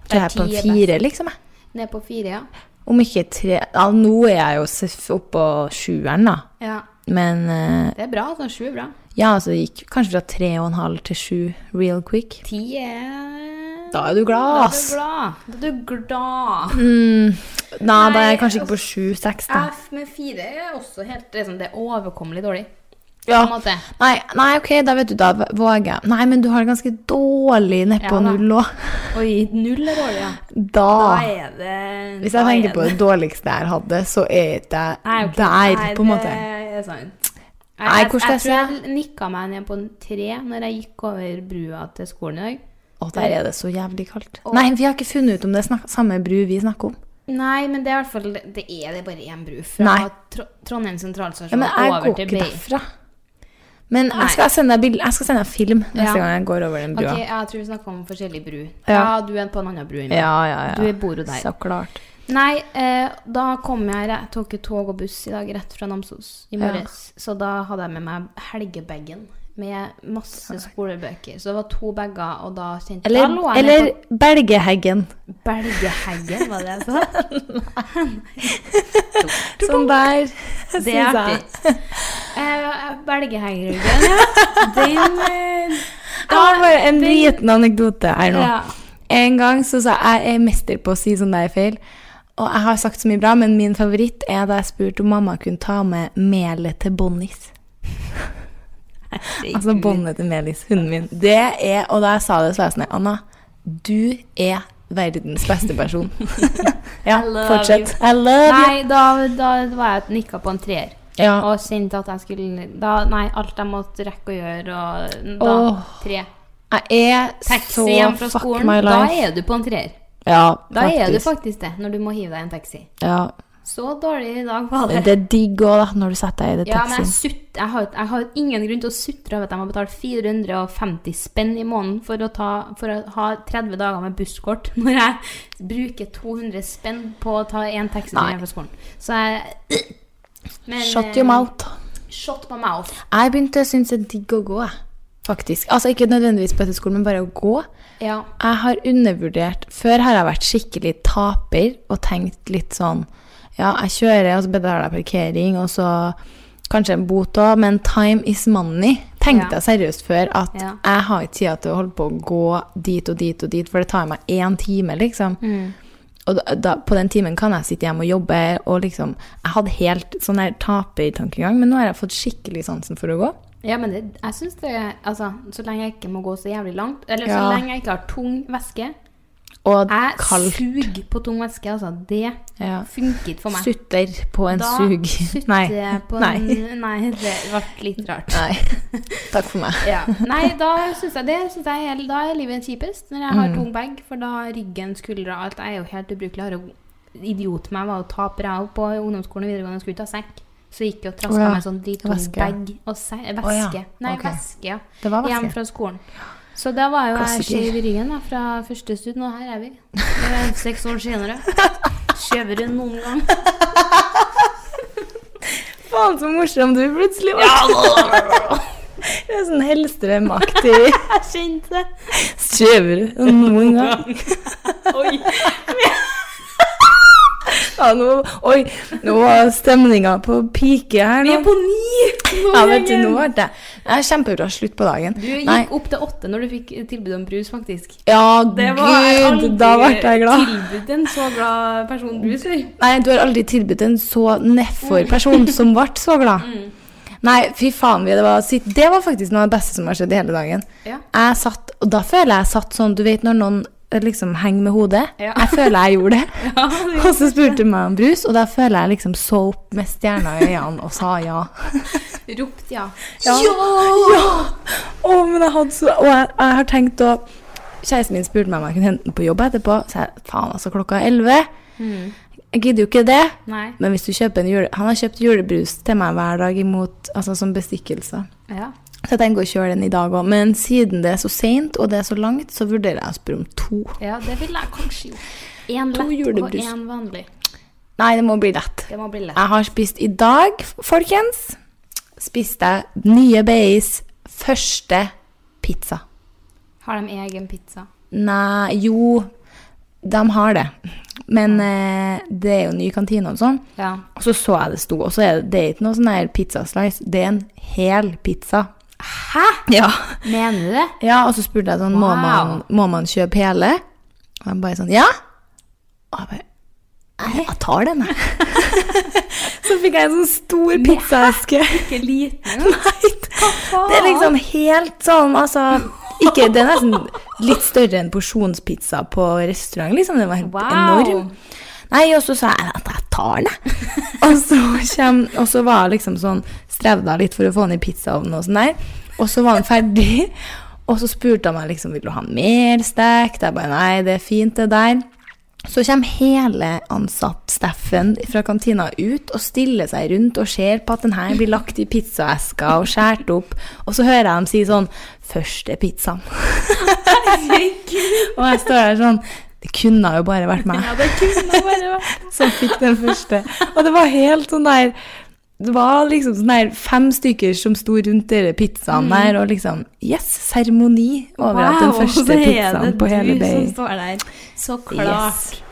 Speaker 4: Tror jeg er på
Speaker 3: ti er
Speaker 4: en fire, liksom. jeg.
Speaker 3: Ned på fire, ja.
Speaker 4: Om ikke tre ja, Nå er jeg jo seff oppå sjueren, da.
Speaker 3: ja.
Speaker 4: Men eh,
Speaker 3: Det er bra. Sånn sju er bra.
Speaker 4: ja, altså, det gikk kanskje fra tre og en halv til sju real quick.
Speaker 3: Ti er
Speaker 4: Da er du
Speaker 3: Da
Speaker 4: glad, Mm. ass.
Speaker 3: er du glad. Da er du glad.
Speaker 4: Nei, da er
Speaker 3: Nei,
Speaker 4: jeg kanskje ikke på
Speaker 3: altså,
Speaker 4: sju-seks, da.
Speaker 3: F med fire er også helt liksom, Det er sånn, overkommelig dårlig.
Speaker 4: Ja.
Speaker 3: på en måte.
Speaker 4: Nei, nei, ok, da vet du, da våger jeg. Nei, men du har det ganske dårlig
Speaker 3: Ja
Speaker 4: nedpå
Speaker 3: da.
Speaker 4: null òg.
Speaker 3: Oi, null er dårlig, ja. Da
Speaker 4: Da
Speaker 3: er det
Speaker 4: Ah. Hvis jeg tenker på det dårligste jeg hadde, så er ikke jeg der, på en måte.
Speaker 3: Det er sant. Jeg,
Speaker 4: Nei,
Speaker 3: jeg, jeg
Speaker 4: hvordan skal
Speaker 3: tror
Speaker 4: jeg si?
Speaker 3: jeg nikka meg ned på en tre når jeg gikk over brua til skolen i dag.
Speaker 4: Å, der er det så jævlig kaldt. Nei, vi har ikke funnet ut om det er snak samme bru vi snakker om.
Speaker 3: Nei, men det er i hvert fall Det er det bare én bru fra
Speaker 4: Nei.
Speaker 3: Tro Trondheim sentralstasjon
Speaker 4: Ja, men jeg
Speaker 3: over
Speaker 4: går
Speaker 3: til
Speaker 4: ikke
Speaker 3: Bay.
Speaker 4: derfra. Men
Speaker 3: Nei.
Speaker 4: jeg skal sende deg, bild- jeg skal sende deg film neste
Speaker 3: Ja.
Speaker 4: gang jeg går over den
Speaker 3: Ok,
Speaker 4: brua.
Speaker 3: jeg tror vi snakker om forskjellig bru. Ja,
Speaker 4: Ja.
Speaker 3: du er på en annen bru enn meg.
Speaker 4: Ja, ja, ja.
Speaker 3: Du bor jo der.
Speaker 4: Så klart.
Speaker 3: Nei, eh, da kom jeg Jeg tok jo tog og buss i dag rett fra Namsos i morges. Så da hadde jeg med meg helgebagen med masse skolebøker. Så det var to bager, og da kjente da
Speaker 4: Eller,
Speaker 3: lå jeg
Speaker 4: eller
Speaker 3: ned
Speaker 4: Belgeheggen.
Speaker 3: på Belgeheggen, var det jeg sa?
Speaker 4: Sånn der.
Speaker 3: Det er artig. Eh, Belgeheggen, ja. Den eh,
Speaker 4: Jeg har bare en liten anekdote her nå.
Speaker 3: Ja.
Speaker 4: En gang så sa jeg jeg er mester på å si sånn der feil. Og jeg har sagt så mye bra, men min favoritt er da jeg spurte om mamma kunne ta med melet til Bonnis. altså båndet til Melis, hunden min. Det er, Og da jeg sa det, så var jeg sånn her, Anna, du er verdens beste person. ja,
Speaker 3: I love
Speaker 4: fortsett. I love you.
Speaker 3: Nei, da, da var jeg nikka på en treer.
Speaker 4: Ja.
Speaker 3: Og kjente at jeg skulle da, Nei, alt jeg måtte rekke å gjøre, og da
Speaker 4: Åh.
Speaker 3: Tre.
Speaker 4: Jeg er
Speaker 3: Taxi
Speaker 4: så
Speaker 3: hjem fra
Speaker 4: fuck
Speaker 3: skolen,
Speaker 4: my
Speaker 3: da
Speaker 4: life.
Speaker 3: er du på en treer.
Speaker 4: ja,
Speaker 3: Da
Speaker 4: faktisk.
Speaker 3: er du faktisk det, når du må hive deg i en taxi.
Speaker 4: Ja.
Speaker 3: Så dårlig i dag var
Speaker 4: Men
Speaker 3: det.
Speaker 4: det er digg òg, da, når du setter deg i det
Speaker 3: Ja, men jeg,
Speaker 4: taxien.
Speaker 3: sutt, jeg, har, jeg har ingen grunn til å sutre over at jeg må betale 450 spenn i måneden for å, ta, for å ha 30 dager med busskort, når jeg bruker 200 spenn på å ta én taxi
Speaker 4: Nei.
Speaker 3: hjem fra skolen. Så jeg men,
Speaker 4: Shut
Speaker 3: eh,
Speaker 4: your mouth.
Speaker 3: Shot my mouth.
Speaker 4: Jeg begynte å synes det er digg å gå, jeg. faktisk. Altså ikke nødvendigvis på etterskolen, men bare å gå.
Speaker 3: Ja.
Speaker 4: Jeg har undervurdert Før har jeg vært skikkelig taper og tenkt litt sånn Ja, jeg kjører, og så betaler jeg parkering, og så kanskje en bot òg, men time is money. Tenkte
Speaker 3: Ja.
Speaker 4: jeg seriøst før at
Speaker 3: Ja.
Speaker 4: jeg har ikke tida til å holde på å gå dit og dit og dit, for det tar meg én time, liksom.
Speaker 3: Mm.
Speaker 4: Og da, da, på den timen kan jeg sitte hjemme og jobbe, og liksom Jeg hadde helt sånn der tapertankegang, men nå har jeg fått skikkelig sansen for å gå.
Speaker 3: Ja, men det, jeg syns det Altså, så lenge jeg ikke må gå så jævlig langt, eller så
Speaker 4: Ja.
Speaker 3: lenge jeg ikke har tung væske
Speaker 4: Og
Speaker 3: Jeg
Speaker 4: kaldt.
Speaker 3: suger på tung væske, altså. Det
Speaker 4: Ja.
Speaker 3: funker ikke for meg.
Speaker 4: Sutter på en
Speaker 3: Da
Speaker 4: sug.
Speaker 3: sutter
Speaker 4: Nei.
Speaker 3: jeg på
Speaker 4: Nei.
Speaker 3: en- nei, det ble litt rart.
Speaker 4: Nei. Takk for meg.
Speaker 3: Ja. Nei, da syns jeg det synes jeg, er- Da er livet kjipest, når jeg har
Speaker 4: Mm.
Speaker 3: tung bag, for da ryggen, skuldra, alt Jeg er jo helt ubrukelig. Jeg har jo- Idiot meg var jo taper jeg òg på ungdomsskolen og videregående, skulle ta sekk. Så gikk jeg og traska
Speaker 4: Å ja,
Speaker 3: med sånn drittung
Speaker 4: væske.
Speaker 3: bag og se væske.
Speaker 4: Å ja,
Speaker 3: Nei,
Speaker 4: ok.
Speaker 3: væske, ja.
Speaker 4: Det var væske.
Speaker 3: Hjem fra skolen. Så da var jo jeg
Speaker 4: Klassiker.
Speaker 3: skjev i ryggen da, fra første stund, og her er vi. Det er Seks år senere. Skjevere enn noen gang.
Speaker 4: Faen, så morsom du plutselig var. Det er sånn Hellstrøm-aktig.
Speaker 3: Jeg kjente det.
Speaker 4: Skjevere enn noen gang.
Speaker 3: Oi.
Speaker 4: Ja, nå, oi, nå var stemninga på pike her
Speaker 3: Vi er
Speaker 4: nå.
Speaker 3: på ni! Nå
Speaker 4: Ja, vet du, nå
Speaker 3: gjengen.
Speaker 4: ble det Det er kjempebra slutt på dagen.
Speaker 3: Du gikk
Speaker 4: Nei.
Speaker 3: opp til åtte når du fikk tilbud om brus, faktisk.
Speaker 4: Ja,
Speaker 3: Det var jeg
Speaker 4: gud, da Mm. ble
Speaker 3: aldri
Speaker 4: jeg glad.
Speaker 3: Tilbudt en så glad person brus, eller?
Speaker 4: Nei, du har aldri tilbudt en så nedfor person som ble så glad.
Speaker 3: Mm.
Speaker 4: Nei, fy faen, vi, det, var, sitt- det var faktisk noe av det beste som har skjedd i hele dagen.
Speaker 3: Ja.
Speaker 4: Jeg satt, og da føler jeg jeg satt sånn, du vet når noen eh, liksom henger med hodet.
Speaker 3: Ja.
Speaker 4: Jeg føler jeg gjorde det.
Speaker 3: Ja, det
Speaker 4: og så spurte du meg om brus, og da føler jeg liksom så opp med stjerna i øynene og sa ja.
Speaker 3: Ropt ja.
Speaker 4: Ja! Å, men jeg hadde så Og jeg, jeg har tenkt å Kjæresten min spurte meg om jeg kunne hente den på jobb etterpå. Så jeg faen, altså, klokka er 11. Jeg gidder jo ikke det.
Speaker 3: Nei.
Speaker 4: Men hvis du kjøper en jule... Han har kjøpt julebrus til meg hver dag imot, altså som bestikkelse.
Speaker 3: Ja.
Speaker 4: Så jeg tenker å kjøre den i dag òg. Men siden det er så seint, og det er så langt, så vurderer jeg å spørre om to.
Speaker 3: ja, det ville jeg kanskje gjort. Én
Speaker 4: To
Speaker 3: lett og
Speaker 4: julebrus.
Speaker 3: én vanlig.
Speaker 4: Nei, det må bli lett.
Speaker 3: Det må bli lett.
Speaker 4: Jeg har spist i dag, f- folkens, spiste jeg nye BIs første pizza.
Speaker 3: Har de egen pizza?
Speaker 4: Nei, jo, de har det. Men eh, det er jo ny kantine og sånn.
Speaker 3: Ja.
Speaker 4: Og så så jeg det sto, og så er det, det er ikke noe sånn her pizzaslice, det er en hel pizza. Hæ? Ja,
Speaker 3: Mener du det?
Speaker 4: ja og så spurte jeg sånn, må,
Speaker 3: Wow.
Speaker 4: man, må man kjøpe hele? Og han bare sånn, ja. Og jeg bare, Jeg, jeg tar den, jeg. så fikk jeg en sånn stor pizzaeske.
Speaker 3: Ikke liten.
Speaker 4: Nei, det er liksom helt sånn, altså ikke, Det er nesten litt større enn porsjonspizza på restaurant, liksom. Det var helt
Speaker 3: Wow.
Speaker 4: enorm. Nei, og så sa jeg at jeg tar den, jeg. Og så, kjem, og så var jeg liksom sånn strevda litt for å få den i pizzaovnen og sånn der. Og så var den ferdig, og så spurte han meg liksom vil du ha mer stekt. Jeg bare nei, det er fint, det der. Så kommer hele ansatt Steffen fra kantina ut og stiller seg rundt og ser på at den her blir lagt i pizzaeska og skåret opp, og så hører jeg dem si sånn 'Første pizzaen'. og jeg står der sånn Det kunne jo bare vært meg som fikk den første. Og det var helt sånn der Det var liksom sånn der fem stykker som sto rundt dere
Speaker 3: Mm.
Speaker 4: pizzaen der, og liksom Yes! Seremoni over at den første pizzaen på
Speaker 3: Så er det
Speaker 4: hele
Speaker 3: du som
Speaker 4: Bay
Speaker 3: står der. Så klart.
Speaker 4: Yes.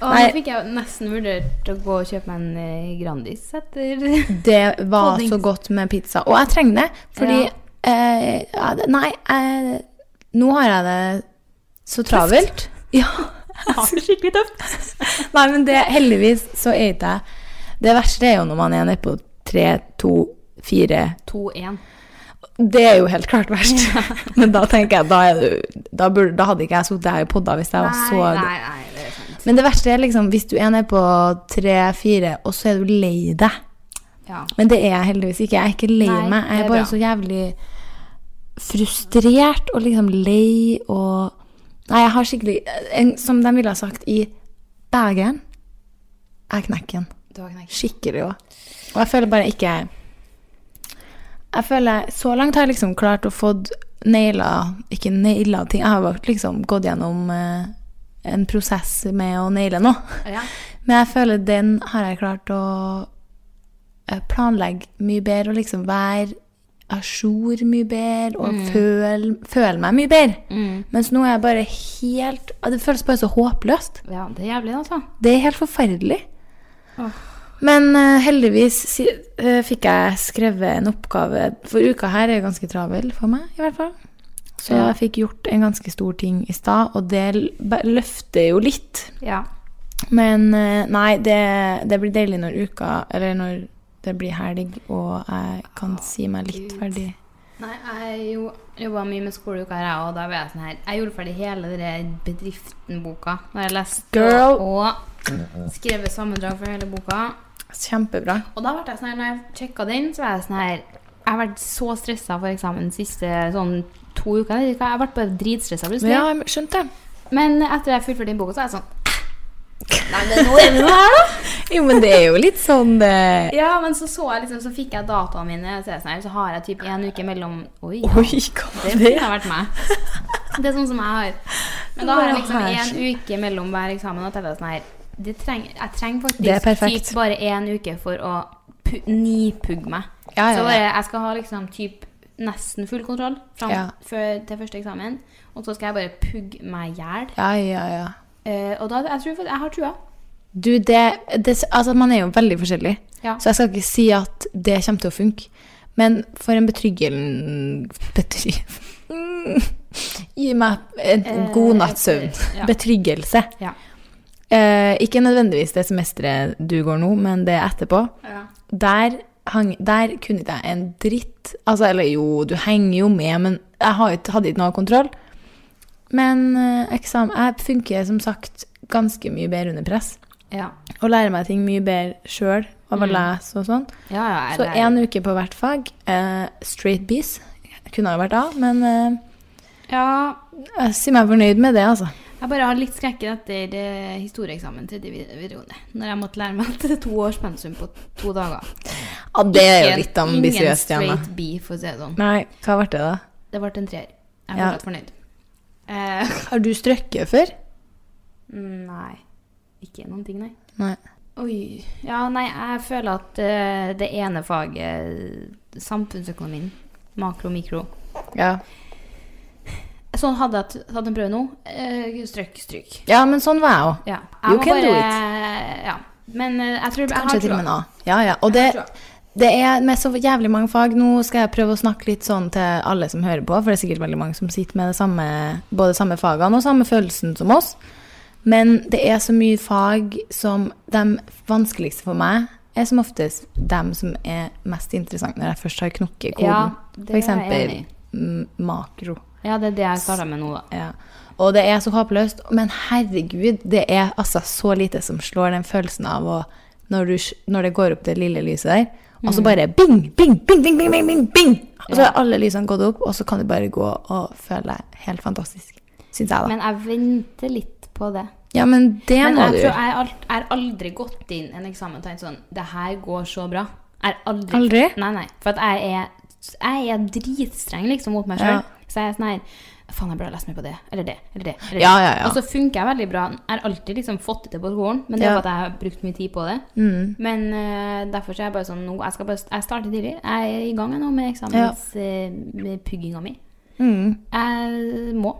Speaker 3: Og nå
Speaker 4: Nei.
Speaker 3: fikk jeg nesten vurdert å gå og kjøpe meg en eh, Grandis etter
Speaker 4: Det var
Speaker 3: Holdnings-
Speaker 4: så godt med pizza. Og jeg trenger det, fordi eh, ja, det- Nei, eh, nå har jeg det så travelt. Ja.
Speaker 3: Skikkelig tøft.
Speaker 4: Nei, men det, heldigvis så er ikke jeg Det verste er jo når man er nede på tre, to, fire
Speaker 3: 2-1.
Speaker 4: Det er jo helt klart verst. Men da tenker jeg, da, er du, da, burde, da hadde ikke jeg sittet her i podda hvis jeg var så
Speaker 3: nei, nei, det er sant.
Speaker 4: Men det verste er liksom hvis du er nede på tre, fire, og så er du lei deg.
Speaker 3: Ja.
Speaker 4: Men det er jeg heldigvis ikke. Jeg er ikke lei
Speaker 3: Nei,
Speaker 4: meg.
Speaker 3: det
Speaker 4: Jeg
Speaker 3: er
Speaker 4: er bare
Speaker 3: bra.
Speaker 4: så jævlig frustrert og liksom lei og Nei, jeg har skikkelig en, Som de ville ha sagt i Bergen Jeg knekker den.
Speaker 3: Du har knekt.
Speaker 4: Skikkelig òg. Og jeg føler bare ikke Jeg føler Så langt har jeg liksom klart å få naila Ikke naila ting. Jeg har vært liksom gått gjennom eh, en prosess med å naile noe.
Speaker 3: Ja.
Speaker 4: Men jeg føler den har jeg klart å eh, planlegge mye bedre og liksom være à jour mye bedre og føle, føle meg mye bedre. Mens nå er jeg bare helt Det føles bare så håpløst.
Speaker 3: ja, det er jævlig, altså.
Speaker 4: Det er helt forferdelig. Men eh, heldigvis si, eh, fikk jeg skrevet en oppgave. For uka her er jo ganske travel for meg, i hvert fall. Så jeg fikk gjort en ganske stor ting i stad, og det l- ba- løfter jo litt.
Speaker 3: Ja.
Speaker 4: Men eh, nei, det, det blir deilig når uka Eller når det blir helg, og jeg kan si meg litt ferdig.
Speaker 3: Nei, jeg jo- jobba mye med skoleuka her, jeg, og da var jeg sånn her Jeg gjorde ferdig hele den der Bedriften-boka. Da jeg leste
Speaker 4: Girl.
Speaker 3: og skrevet sammendrag for hele boka.
Speaker 4: Kjempebra.
Speaker 3: Og da ble jeg sånn her, når jeg sjekka den, så var jeg sånn her Jeg har vært så stressa for eksamen de siste sånn to uker. Jeg vet ikke hva, jeg ble bare dritstressa plutselig.
Speaker 4: Ja, jeg skjønte det.
Speaker 3: Men etter jeg fullførte den boka, så er jeg sånn Nei, men nå er vi nå her, da!
Speaker 4: Jo, men det er jo litt sånn det
Speaker 3: Ja, men så så jeg liksom, så fikk jeg dataene mine, så, er jeg sånn her, så har jeg typ en uke mellom Oi, ja.
Speaker 4: Oi, hva
Speaker 3: Det
Speaker 4: var det?
Speaker 3: kunne ha vært meg. Det er sånn som jeg har. Men da har jeg liksom én uke mellom hver eksamen. Og teller sånn her. Det treng, jeg trenger
Speaker 4: Det er
Speaker 3: faktisk
Speaker 4: perfekt.
Speaker 3: typ bare én uke for å pu- nipugge meg.
Speaker 4: Ja, ja,
Speaker 3: Så
Speaker 4: ja.
Speaker 3: bare, jeg skal ha liksom typ nesten full kontroll fram
Speaker 4: Ja.
Speaker 3: før, til første eksamen. Og så skal jeg bare pugge meg i hjel.
Speaker 4: Ja, ja, ja.
Speaker 3: Eh, og da, jeg tror fakt- jeg har trua.
Speaker 4: Du, det, det Altså, man er jo veldig forskjellig,
Speaker 3: Ja.
Speaker 4: så jeg skal ikke si at det kommer til å funke. Men for en betryggel... Betry... Mm, gi meg en
Speaker 3: Eh,
Speaker 4: god natts søvn.
Speaker 3: et- ja.
Speaker 4: Betryggelse.
Speaker 3: Ja.
Speaker 4: Eh, ikke nødvendigvis det semesteret du går nå, men det etterpå.
Speaker 3: Ja.
Speaker 4: Der, hang, der kunne ikke jeg en dritt. Altså, eller jo, du henger jo med, men jeg har jo ikke- hadde ikke noe kontroll. Men eh, eksamen Jeg funker som sagt ganske mye bedre under press.
Speaker 3: Ja,
Speaker 4: Og lærer meg ting mye bedre sjøl av å lese og sånn.
Speaker 3: ja, ja jeg
Speaker 4: Så
Speaker 3: lærer.
Speaker 4: én uke på hvert fag. Eh, straight B's. Kunne ha vært A, men eh,
Speaker 3: ja,
Speaker 4: jeg sier meg fornøyd med det, altså.
Speaker 3: Jeg bare har litt skrekken etter eh, historieeksamen tredje vide- videregående. Når jeg måtte lære meg til to års pensum på to dager.
Speaker 4: Ja, det er jo
Speaker 3: Ingen-
Speaker 4: litt ambisiøst,
Speaker 3: Ingen
Speaker 4: Janne.
Speaker 3: straight B, for å si det sånn.
Speaker 4: Nei, hva ble det, da?
Speaker 3: Det ble en treer. Jeg er
Speaker 4: Ja.
Speaker 3: fortsatt fornøyd. Eh, mm,
Speaker 4: Har du strøkket før?
Speaker 3: nei. Ikke noen ting, nei.
Speaker 4: Nei.
Speaker 3: Oi. Ja, nei, jeg føler at eh, det ene faget, samfunnsøkonomien, makro og mikro
Speaker 4: Ja.
Speaker 3: Sånn hadde jeg t- tatt en prøve nå. Eh, strøk, stryk.
Speaker 4: ja, men sånn var jeg òg.
Speaker 3: Ja.
Speaker 4: You
Speaker 3: må
Speaker 4: can do
Speaker 3: Ja. Men eh, jeg tror jeg har
Speaker 4: Kanskje til
Speaker 3: trua.
Speaker 4: og med en A. Ja, ja. Og det, det er med så jævlig mange fag. Nå skal jeg prøve å snakke litt sånn til alle som hører på, for det er sikkert veldig mange som sitter med det samme, både samme fagene og samme følelsen som oss. Men det er så mye fag som De vanskeligste for meg er som oftest de som er mest interessante når jeg først har knokket koden.
Speaker 3: det er jeg
Speaker 4: for
Speaker 3: enig
Speaker 4: eksempel
Speaker 3: i.
Speaker 4: m- makro.
Speaker 3: Ja, det er det jeg starta med nå, da.
Speaker 4: Ja. Og det er så håpløst. Men herregud, det er altså så lite som slår den følelsen av å når, du, s- når det går opp det lille lyset der,
Speaker 3: Mm.
Speaker 4: og så bare bing, bing, bing, bing, bing, bing, bing, bing. Og så har alle lysene gått opp, og så kan du bare gå og føle deg helt fantastisk. Syns jeg, da.
Speaker 3: Men jeg venter litt på det.
Speaker 4: ja, men det
Speaker 3: Men
Speaker 4: må
Speaker 3: jeg
Speaker 4: du
Speaker 3: tror
Speaker 4: gjøre.
Speaker 3: jeg alt- jeg har aldri gått inn en eksamen og tenkt sånn Det her går så bra. Jeg har aldri,
Speaker 4: Aldri?
Speaker 3: Nei, nei. For at jeg er, jeg er dritstreng liksom mot meg
Speaker 4: Ja.
Speaker 3: sjøl. Så jeg er sånn her Faen, jeg burde ha lest meg på det. Eller det. Eller det. Eller
Speaker 4: Ja,
Speaker 3: det.
Speaker 4: ja, ja.
Speaker 3: Og så funker jeg veldig bra. Jeg har alltid liksom fått det til på skolen, men det er
Speaker 4: Ja. Mm.
Speaker 3: for at jeg har brukt mye tid på det. Men eh, derfor så er jeg bare sånn nå, jeg, skal bare, jeg starter tidlig. Jeg er i gang nå med eksamenspugginga mi. Jeg må.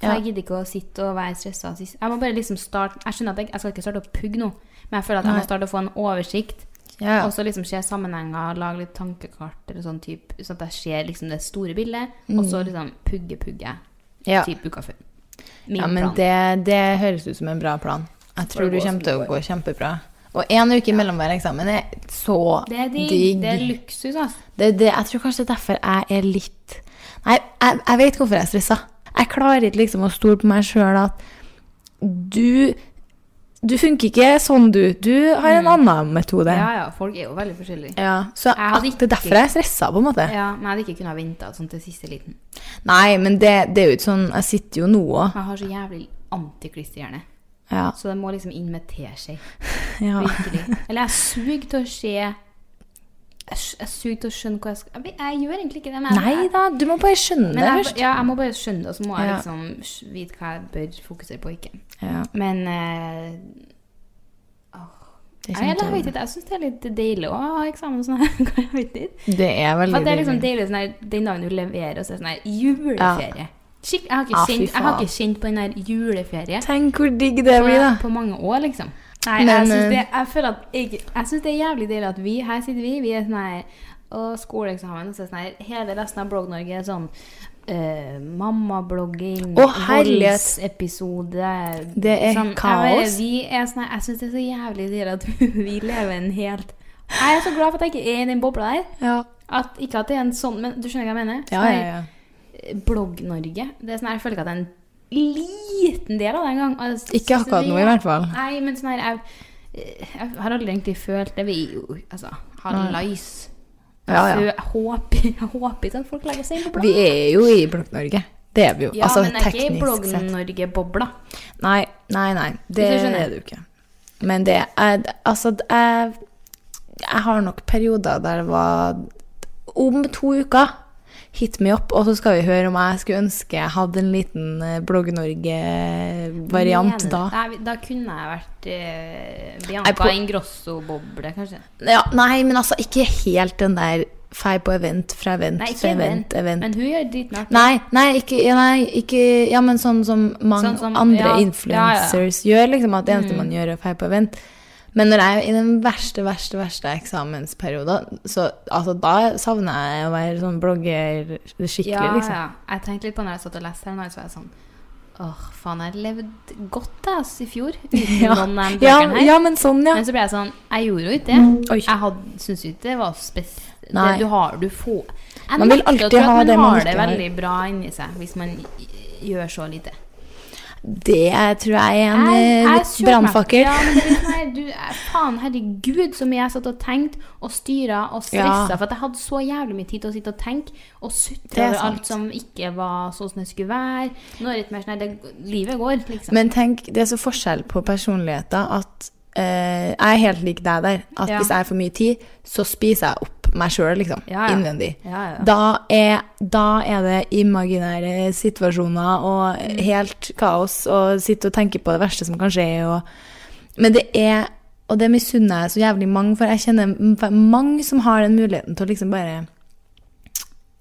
Speaker 3: For
Speaker 4: Ja.
Speaker 3: jeg gidder ikke å sitte og være stressa. sist- Jeg må bare liksom starte Jeg skjønner at jeg, jeg skal ikke starte å pugge nå, men jeg føler at jeg må starte å få en oversikt.
Speaker 4: Ja, ja.
Speaker 3: Og så liksom se sammenhenger, lage litt tankekart eller sånn type, sånn at jeg ser liksom det store bildet, og så liksom pugge, pugge.
Speaker 4: Mm. Ja.
Speaker 3: Typ uka før. Min
Speaker 4: Ja, men
Speaker 3: plan.
Speaker 4: det, det høres ut som en bra plan. Jeg tror du kommer til å gå kjempebra. Og én uke mellom hver eksamen er så
Speaker 3: det er digg.
Speaker 4: digg.
Speaker 3: Det er luksus, altså.
Speaker 4: Det, det, jeg tror kanskje det er derfor jeg er litt Nei, jeg, jeg vet hvorfor jeg er stressa. Jeg klarer ikke liksom å stole på meg sjøl at du Du funker ikke sånn, du. Du har en annen metode.
Speaker 3: Mm. Ja,
Speaker 4: Ja.
Speaker 3: ja, folk er jo veldig forskjellige.
Speaker 4: Så
Speaker 3: Jeg hadde
Speaker 4: at det er
Speaker 3: ikke-
Speaker 4: derfor jeg er stressa, på en måte.
Speaker 3: Ja, men jeg hadde ikke kunnet vente sånn til siste liten.
Speaker 4: Nei, men det, det er jo ikke sånn Jeg sitter jo nå òg.
Speaker 3: Jeg har så jævlig antiklisterhjerne.
Speaker 4: Ja.
Speaker 3: Så det må liksom inn med teskje.
Speaker 4: Ja.
Speaker 3: Virkelig. Eller jeg suger til å se Jeg s- jeg suger til å skjønne hva jeg skal Jeg, vet- jeg gjør egentlig ikke det, men jeg-
Speaker 4: Nei da, du må bare
Speaker 3: Men
Speaker 4: skjønne
Speaker 3: jeg,
Speaker 4: det først.
Speaker 3: ja, jeg må bare skjønne det, og så må jeg
Speaker 4: Ja.
Speaker 3: liksom sk- vite hva jeg bør fokusere på og ikke.
Speaker 4: Ja,
Speaker 3: Men eh,
Speaker 4: det,
Speaker 3: jeg, jeg
Speaker 4: kommer
Speaker 3: vet ikke, jeg syns det er litt deilig å ha eksamen og sånn her. Jeg vet ikke.
Speaker 4: til- det er veldig
Speaker 3: For det er liksom
Speaker 4: deilig.
Speaker 3: deilig sånn her, den dagen du leverer, og så er det sånn her juleferie. Skikk, jeg, har ikke
Speaker 4: Ah, fy
Speaker 3: kjent, jeg har
Speaker 4: faen.
Speaker 3: ikke kjent på den her juleferie
Speaker 4: Tenk hvor digg det blir, da.
Speaker 3: på mange år, liksom. Nei,
Speaker 4: Men,
Speaker 3: jeg syns det,
Speaker 4: eh,
Speaker 3: jeg føler at jeg, jeg synes det er jævlig deilig at vi, her sitter vi, vi er sånn her og skoleeksamen, og så er det sånn her Hele resten av Blogg-Norge er sånn eh, mammablogging,
Speaker 4: Å, herlighet.
Speaker 3: voldsepisode
Speaker 4: Det er
Speaker 3: sånn, jeg
Speaker 4: kaos.
Speaker 3: bare- Vi er sånn her Jeg syns det er så jævlig deilig at vi lever en helt Jeg er så glad for at jeg ikke er i den bobla der.
Speaker 4: Ja.
Speaker 3: At, ikke at det er en sånn Men du skjønner hva jeg mener?
Speaker 4: Ja,
Speaker 3: Sånn her,
Speaker 4: ja, ja.
Speaker 3: Blogg-Norge. Det er sånn her, Jeg føler ikke at det er en liten del av det engang. Altså, Og jeg synes
Speaker 4: Ikke akkurat
Speaker 3: det
Speaker 4: nå,
Speaker 3: er-
Speaker 4: i hvert fall.
Speaker 3: Nei, men sånn her jeg, jeg har aldri egentlig følt det. Vi er jo altså Hallais.
Speaker 4: Mm. Ja, ja.
Speaker 3: Fø- Jeg håper, jeg håper ikke at folk legger seg inn på blogg.
Speaker 4: Vi er jo i Blogg-Norge. Det er vi jo.
Speaker 3: ja,
Speaker 4: altså
Speaker 3: men jeg er ikke i
Speaker 4: teknisk sett.
Speaker 3: Blogg-Norge-bobla.
Speaker 4: Nei, nei, nei. Det
Speaker 3: Hvis du skjønner.
Speaker 4: er du ikke. Men det er Altså, jeg, jeg har nok perioder der det var Om to uker hit me up, og så skal vi høre om jeg skulle ønske jeg hadde en liten eh, Blogg-Norge-variant
Speaker 3: Mener-
Speaker 4: da.
Speaker 3: Nei, da kunne jeg vært eh,
Speaker 4: Jeg
Speaker 3: Bianca
Speaker 4: på-
Speaker 3: Ingrosso-boble, kanskje.
Speaker 4: Ja, nei, men altså ikke helt den der fei på event fra event
Speaker 3: Nei, ikke
Speaker 4: fra event,
Speaker 3: event,
Speaker 4: event.
Speaker 3: men hun gjør dritmye artig.
Speaker 4: Nei, nei, ikke, ja, nei, ikke Ja, men sånn som mange
Speaker 3: Sånn som-
Speaker 4: andre
Speaker 3: ja, Mm.
Speaker 4: influencers gjør, liksom, at det eneste man gjør, er å feie på event. Men når jeg er i den verste, verste, verste eksamensperioden, så altså, da savner jeg å være sånn blogger skikkelig,
Speaker 3: Ja,
Speaker 4: liksom.
Speaker 3: ja. Jeg tenkte litt på når jeg satt og leste her, nå, så var jeg sånn Åh, faen, jeg levde godt jeg, ass, i fjor uten noen av de
Speaker 4: Ja,
Speaker 3: bøkene her.
Speaker 4: ja, men sånn, ja. Mm.
Speaker 3: Men så ble jeg sånn Jeg gjorde jo ikke det.
Speaker 4: Oi.
Speaker 3: Jeg hadde- syntes jo ikke det var spes... Det,
Speaker 4: Nei.
Speaker 3: du har du få Jeg
Speaker 4: Man vil
Speaker 3: nekter å tro
Speaker 4: alltid
Speaker 3: at
Speaker 4: ha det
Speaker 3: man
Speaker 4: man
Speaker 3: har det
Speaker 4: ikke har.
Speaker 3: veldig bra inni seg hvis man gjør så lite.
Speaker 4: Det er- tror jeg er en eh,
Speaker 3: jeg
Speaker 4: litt
Speaker 3: kjøper meg-
Speaker 4: brannfakkel.
Speaker 3: Ja, men det er litt sånn her, du, eh, faen, herregud, så mye jeg satt og tenkte og styra og stressa.
Speaker 4: Ja.
Speaker 3: For at jeg hadde så jævlig mye tid til å sitte og tenke og
Speaker 4: Det er
Speaker 3: sutre over
Speaker 4: sant.
Speaker 3: alt som ikke var sånn som det skulle være. Nå er det litt mer sånn her det- Livet går, liksom.
Speaker 4: Men tenk, det er så forskjell på personligheter at eh, jeg er helt lik deg der. At
Speaker 3: Ja.
Speaker 4: hvis jeg har for mye tid, så spiser jeg opp meg sjøl, liksom.
Speaker 3: Ja, ja.
Speaker 4: Innvendig.
Speaker 3: Ja, ja.
Speaker 4: Da, er, da er det imaginære situasjoner
Speaker 3: Mm.
Speaker 4: og helt kaos, og sitte og tenke på det verste som kan skje. Og, men det er Og det misunner jeg så jævlig mange, for jeg kjenner m- mange som har den muligheten til å liksom bare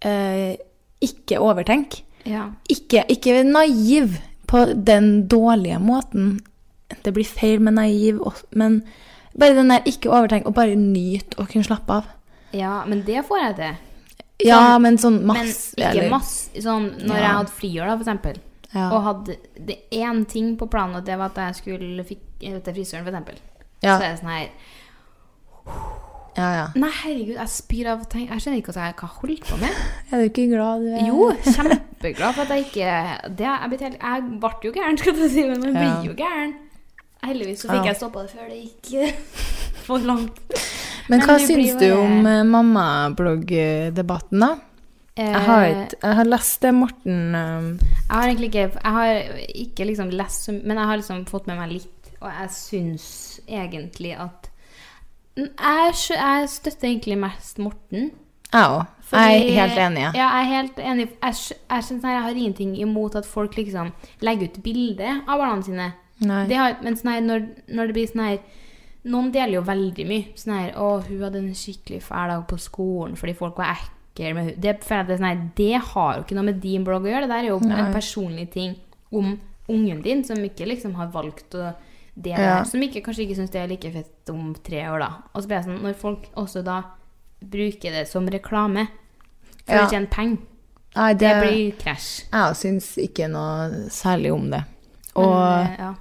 Speaker 4: eh, ikke overtenke
Speaker 3: ja.
Speaker 4: ikke, ikke naiv på den dårlige måten. Det blir feil med naiv, og- men bare den der ikke overtenk, og bare nyt og kunne slappe av.
Speaker 3: ja, men det får jeg til.
Speaker 4: Ja, men sånn
Speaker 3: Men
Speaker 4: masse.
Speaker 3: ikke masse. Sånn når
Speaker 4: Ja.
Speaker 3: jeg hadde friår, da, for eksempel.
Speaker 4: Ja.
Speaker 3: Og hadde det én ting på planen, og det var at jeg skulle fikk, eh, til frisøren, f.eks.
Speaker 4: Ja.
Speaker 3: Så er det sånn her
Speaker 4: ja, ja.
Speaker 3: Nei, herregud, jeg spyr av tenk, Jeg skjønner ikke hva jeg hva jeg holdt på med.
Speaker 4: Er du ikke glad du er
Speaker 3: Jo, kjempeglad for at jeg ikke det, jeg, ble helt, jeg ble jo gæren, skal jeg si, men man
Speaker 4: Ja.
Speaker 3: blir jo gæren. Heldigvis så fikk
Speaker 4: Ja.
Speaker 3: jeg stoppa det før det gikk eh, for langt.
Speaker 4: Men
Speaker 3: Men
Speaker 4: hva
Speaker 3: det blir
Speaker 4: syns
Speaker 3: jo
Speaker 4: du
Speaker 3: bare-
Speaker 4: om eh, mammabloggdebatten, da? Jeg har,
Speaker 3: Eh,
Speaker 4: ikke, jeg har lest det Morten eh,
Speaker 3: Jeg har egentlig ikke Jeg har ikke liksom lest så Men jeg har liksom fått med meg litt, og jeg syns egentlig at N- jeg, skjø- jeg støtter egentlig mest Morten.
Speaker 4: Jeg òg. Jeg er helt enig.
Speaker 3: Ja.
Speaker 4: jeg.
Speaker 3: jeg er helt enig. Jeg, skj- jeg, skjønner sånn her, jeg har ingenting imot at folk liksom legger ut bilde av barna sine.
Speaker 4: Nei.
Speaker 3: Det har, men sånn her, når, når det blir sånn her Noen deler jo veldig mye. Sånn her 'Å, hun hadde en skikkelig fæl dag på skolen fordi folk var ekle med hun Det, føler jeg at det, er sånn her, det har jo ikke noe med din blogg å gjøre. Det der er jo en personlig ting om ungen din som ikke liksom har valgt å dele
Speaker 4: Ja.
Speaker 3: Som ikke, kanskje ikke syns det er like fett om tre år, da. Og så blir jeg sånn Når folk også da bruker det som reklame for
Speaker 4: Ja.
Speaker 3: å tjene penger,
Speaker 4: Nei, det,
Speaker 3: det blir krasj.
Speaker 4: Jeg òg syns ikke noe særlig om det.
Speaker 3: Men,
Speaker 4: Og,
Speaker 3: eh, ja.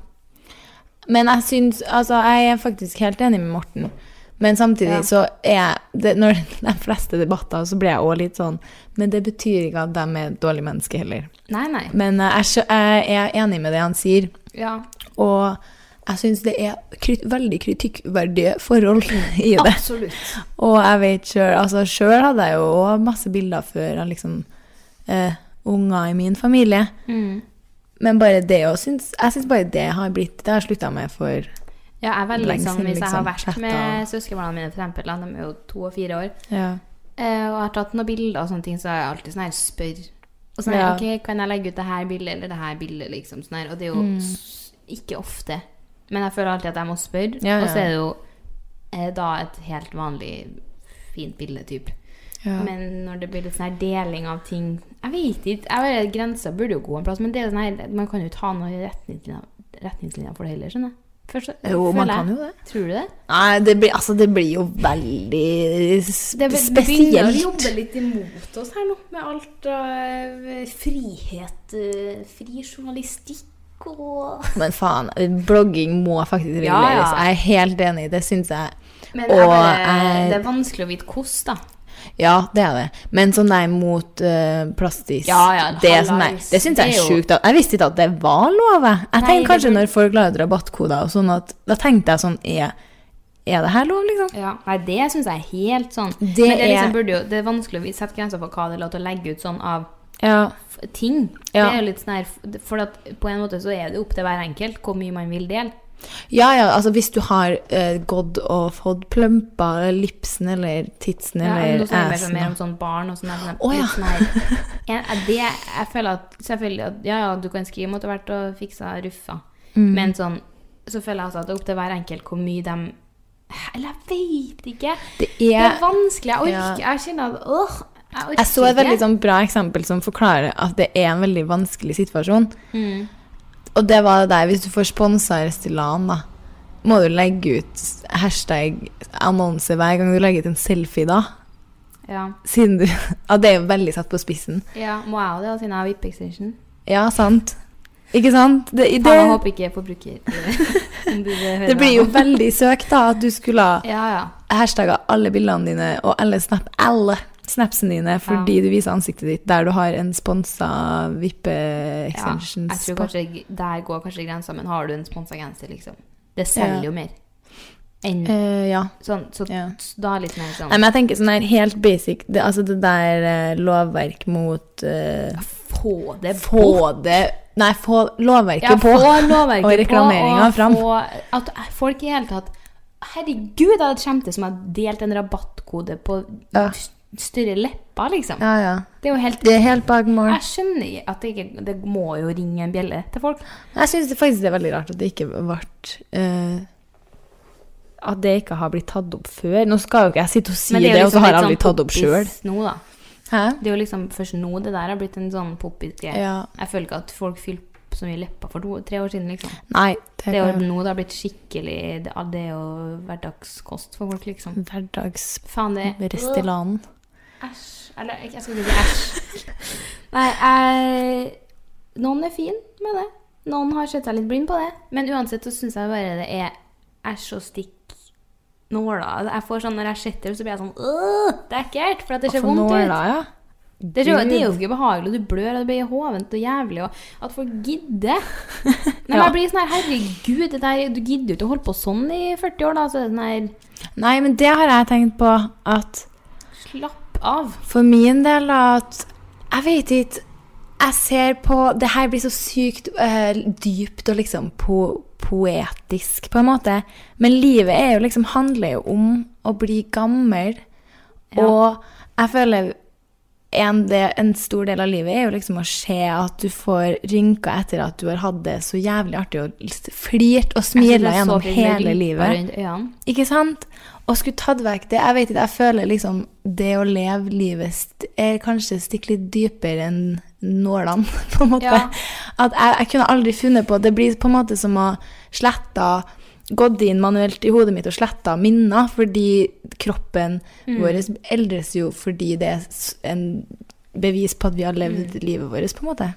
Speaker 4: men jeg syns Altså, jeg er faktisk helt enig med Morten. Men samtidig
Speaker 3: Ja.
Speaker 4: så er jeg det, Når de fleste debatter, så blir jeg òg litt sånn Men det betyr ikke at de er dårlige mennesker heller.
Speaker 3: Nei, nei.
Speaker 4: Men eh, jeg, skjø- jeg er enig med det han sier.
Speaker 3: Ja.
Speaker 4: Og jeg syns det er krit veldig kritikkverdige forhold i det.
Speaker 3: Absolutt.
Speaker 4: Og jeg vet sjøl altså Sjøl hadde jeg jo òg masse bilder før av liksom eh, unger i min familie.
Speaker 3: Mm.
Speaker 4: Men bare det å syns Jeg syns bare det har blitt Det har jeg slutta med for
Speaker 3: Ja, jeg er veldig
Speaker 4: Lenge
Speaker 3: sånn,
Speaker 4: siden,
Speaker 3: Hvis jeg har
Speaker 4: liksom,
Speaker 3: vært med
Speaker 4: chatta.
Speaker 3: søskenbarna mine, for eksempel, da, de er jo to og fire år,
Speaker 4: Ja.
Speaker 3: eh, og jeg har tatt noen bilder og sånne ting, så er jeg alltid sånn her spør. Og sånn her,
Speaker 4: Ja.
Speaker 3: ok, Kan jeg legge ut det her bildet eller det her bildet? liksom sånn her. Og det er jo
Speaker 4: Mm.
Speaker 3: s- ikke ofte. Men jeg føler alltid at jeg må spørre.
Speaker 4: Ja, ja.
Speaker 3: Og så er det jo eh, da et helt vanlig fint bilde, typ. Men når det blir litt sånn her deling av ting Jeg vet ikke. jeg bare, Grensa burde jo gå en plass, men det er sånn her, man kan jo ikke ha noen retningslinjer, retningslinjer for det heller, skjønner jeg. Først, så-
Speaker 4: Jo, man
Speaker 3: føler jeg.
Speaker 4: kan jo det.
Speaker 3: Tror du det?
Speaker 4: Nei, det blir, altså, det blir jo veldig sp
Speaker 3: Det begynner å
Speaker 4: spesielt.
Speaker 3: jobbe litt imot oss her nå, med alt av eh, frihet, eh, fri journalistikk og
Speaker 4: Men faen, blogging må faktisk
Speaker 3: Ja, ja.
Speaker 4: reguleres. Jeg er helt enig, det syns jeg.
Speaker 3: Men
Speaker 4: Og
Speaker 3: jeg bare,
Speaker 4: jeg-
Speaker 3: det er vanskelig å vite hvordan, da.
Speaker 4: Ja, det er det. Men sånn der mot eh, plastis
Speaker 3: Ja, ja,
Speaker 4: Det, er sånn der-
Speaker 3: hallais.
Speaker 4: det syns jeg
Speaker 3: Det
Speaker 4: er
Speaker 3: er jo-
Speaker 4: sjukt. at- Jeg visste ikke at det var lov. jeg. Jeg
Speaker 3: Nei,
Speaker 4: tenkte
Speaker 3: det
Speaker 4: kanskje
Speaker 3: blir-
Speaker 4: når folk la ut rabattkoder og sånn, at da tenkte jeg sånn Er, er det her lov, liksom?
Speaker 3: Nei, det syns jeg er helt sånn.
Speaker 4: Det
Speaker 3: Men det, er
Speaker 4: er-
Speaker 3: liksom burde jo, det er vanskelig å vi- sette grenser for hva det er lov til å legge ut sånn av
Speaker 4: Ja.
Speaker 3: f- ting.
Speaker 4: Ja.
Speaker 3: Det er jo litt sånn her, For at på en måte så er det opp til hver enkelt hvor mye man vil dele.
Speaker 4: ja, altså hvis du har eh, gått og fått plumper eller lipsen eller titsen
Speaker 3: Ja, men
Speaker 4: eller
Speaker 3: nå snakker vi mer
Speaker 4: assen,
Speaker 3: sånn- mer om
Speaker 4: da.
Speaker 3: sånn barn og sånn. der, sånn der-
Speaker 4: Å, ja.
Speaker 3: litt sånn her. Jeg, jeg- det, jeg føler at selvfølgelig at ja, ja, du kan skrive om at du har vært og fiksa ruffa,
Speaker 4: Mm.
Speaker 3: men sånn så føler jeg altså at det er opp til hver enkelt hvor mye de Eller jeg veit ikke.
Speaker 4: Det er-
Speaker 3: er vanskelig. Jeg
Speaker 4: Ja.
Speaker 3: orker Jeg kjenner at åh, jeg orker
Speaker 4: Jeg så et
Speaker 3: ikke.
Speaker 4: veldig sånn bra eksempel som forklarer at det er en veldig vanskelig situasjon.
Speaker 3: Mm.
Speaker 4: Og det var det der, hvis du får sponsa Restylane, da, må du legge ut hashtag-annonse hver gang du legger ut en selfie, da.
Speaker 3: ja.
Speaker 4: Siden du Ja, det er jo veldig satt på spissen.
Speaker 3: ja, må jeg og det, da, siden jeg har VIP Extension?
Speaker 4: Ja, sant. Ikke sant? Det,
Speaker 3: Faen,
Speaker 4: det,
Speaker 3: Jeg håper ikke forbruker Ombudet
Speaker 4: det
Speaker 3: hører
Speaker 4: blir jo
Speaker 3: meg.
Speaker 4: veldig søkt, da, at du skulle ha
Speaker 3: Ja, ja.
Speaker 4: hashtagga alle bildene dine og alle, snap, alle snapsene dine fordi du viser ansiktet ditt der du har en sponsa
Speaker 3: ja. Jeg
Speaker 4: vippe-extensions
Speaker 3: tror kanskje g- der går kanskje grensa, men har du en sponsa genser, liksom Det selger
Speaker 4: Ja.
Speaker 3: jo mer enn
Speaker 4: Eh, ja.
Speaker 3: sånn, så
Speaker 4: ja.
Speaker 3: da er litt mer sånn
Speaker 4: Nei, men jeg tenker sånn her helt basic det, Altså det der eh, lovverk mot eh,
Speaker 3: Få det bort!
Speaker 4: Få det Nei, få lovverket
Speaker 3: Ja,
Speaker 4: på.
Speaker 3: få lovverket
Speaker 4: og reklameringa
Speaker 3: og
Speaker 4: fram.
Speaker 3: få- At folk i hele tatt Herregud, jeg hadde skjemt det som jeg delte en rabattkode på
Speaker 4: Ja.
Speaker 3: s- større lepper, liksom.
Speaker 4: Ja, ja.
Speaker 3: Det er jo helt
Speaker 4: Det er helt bak mål.
Speaker 3: Jeg skjønner at det ikke Det må jo ringe en bjelle til folk.
Speaker 4: Jeg syns faktisk det er veldig rart at det ikke ble eh, At det ikke har blitt tatt opp før. Nå skal jo ikke jeg sitte og si
Speaker 3: Men
Speaker 4: det,
Speaker 3: er jo
Speaker 4: og så
Speaker 3: liksom
Speaker 4: har
Speaker 3: litt
Speaker 4: jeg
Speaker 3: sånn
Speaker 4: aldri tatt opp sjøl.
Speaker 3: poppis Nå, da.
Speaker 4: Hæ?
Speaker 3: Det er jo liksom først nå det der har blitt en sånn poppis-greie.
Speaker 4: Ja.
Speaker 3: Jeg føler ikke at folk fylte opp så mye lepper for to, tre år siden, liksom.
Speaker 4: Nei.
Speaker 3: Det
Speaker 4: Det
Speaker 3: er
Speaker 4: er
Speaker 3: jo nå det har blitt skikkelig Det, det er jo hverdagskost for folk, liksom.
Speaker 4: Mm.
Speaker 3: Faen, det
Speaker 4: hverdagsrestillanen.
Speaker 3: Æsj. Eller ikke- jeg skal ikke si æsj. Nei, jeg Noen er fin med det. Noen har sett seg litt blind på det. Men uansett så syns jeg bare det er æsj og stikk nåler. Jeg får sånn, Når jeg ser det, så blir jeg sånn «Åh, Det er ekkelt, for at det ser
Speaker 4: For
Speaker 3: vondt ut.
Speaker 4: nåla, ja.
Speaker 3: Det er, jo, det er jo ikke behagelig, og du blør, og det blir hovent og jævlig, og at folk gidder. Nei, men
Speaker 4: Ja.
Speaker 3: jeg blir sånn her, herregud, det der, du gidder jo ikke å holde på sånn i 40 år, da. Så er det sånn her,
Speaker 4: Nei, men det har jeg tenkt på at
Speaker 3: slapp av.
Speaker 4: For min del da, at Jeg vet ikke Jeg ser på Det her blir så sykt eh, dypt og liksom po poetisk, på en måte. Men livet er jo liksom, handler jo om å bli gammel. Og jeg føler en, del, en stor del av livet er jo liksom å se at du får rynker etter at du har hatt det så jævlig artig og flirt og
Speaker 3: Jeg synes
Speaker 4: smila
Speaker 3: det er så
Speaker 4: gjennom
Speaker 3: fint med
Speaker 4: hele
Speaker 3: rynker
Speaker 4: livet.
Speaker 3: Rundt øynene.
Speaker 4: Ikke sant? Og skulle tatt vekk det Jeg vet ikke, jeg føler liksom det å leve livet st er kanskje stikke litt dypere enn nålene, på en måte.
Speaker 3: Ja.
Speaker 4: At jeg, jeg kunne aldri funnet på Det blir på en måte som å slette Gått inn manuelt i hodet mitt og sletta minner, fordi kroppen
Speaker 3: Mm.
Speaker 4: vår eldres jo fordi det er s- en bevis på at vi har levd
Speaker 3: Mm.
Speaker 4: livet vårt, på en måte.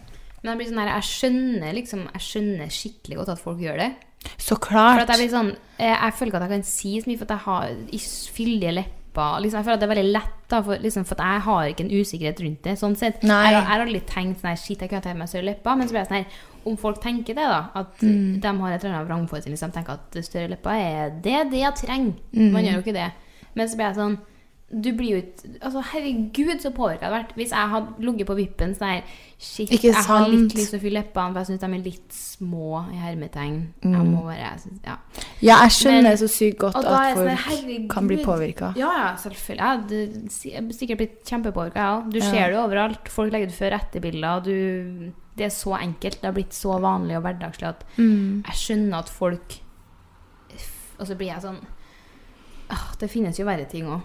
Speaker 3: Men jeg blir sånn her, jeg skjønner liksom, jeg skjønner skikkelig godt at folk gjør det.
Speaker 4: Så
Speaker 3: For
Speaker 4: klart.
Speaker 3: at jeg blir sånn, eh, jeg føler ikke at jeg kan si så mye, for at jeg har is- fyldige lepper. Liksom, jeg føler at det er veldig lett, da, for, liksom, for at jeg har ikke en usikkerhet rundt det. sånn sett.
Speaker 4: Nei.
Speaker 3: Jeg, har- jeg har aldri tenkt sånn her, shit, jeg kunne tatt meg større lepper. Men så blir jeg sånn her, om folk tenker det, da, at
Speaker 4: Mm.
Speaker 3: de har et eller annet vrangforestilling som tenker at større lepper er det det jeg trenger.
Speaker 4: Mm.
Speaker 3: Man gjør jo ikke det. Men så blir jeg sånn du blir jo ikke altså Herregud, så påvirka jeg hadde vært hvis jeg hadde ligget på vippen sånn her Shit,
Speaker 4: Ikke
Speaker 3: jeg har litt
Speaker 4: sant?
Speaker 3: lyst til å fylle leppene, for jeg syns de er litt små i hermetegn. Jeg må bare jeg synes, ja.
Speaker 4: ja, jeg skjønner
Speaker 3: Men-
Speaker 4: så sykt godt
Speaker 3: Og da er
Speaker 4: Mm. at
Speaker 3: jeg sånn,
Speaker 4: folk
Speaker 3: herregud.
Speaker 4: kan bli påvirka.
Speaker 3: Ja, ja, selvfølgelig. Ja, du, si- jeg blir sikkert blitt kjempepåvirka, jeg òg. Du ser det jo overalt. Folk legger ut før-etter-bilder. Du Det er så enkelt. Det har blitt så vanlig og hverdagslig at
Speaker 4: Mm.
Speaker 3: jeg skjønner at folk f- Og så blir jeg sånn «Åh, Det finnes jo verre ting òg.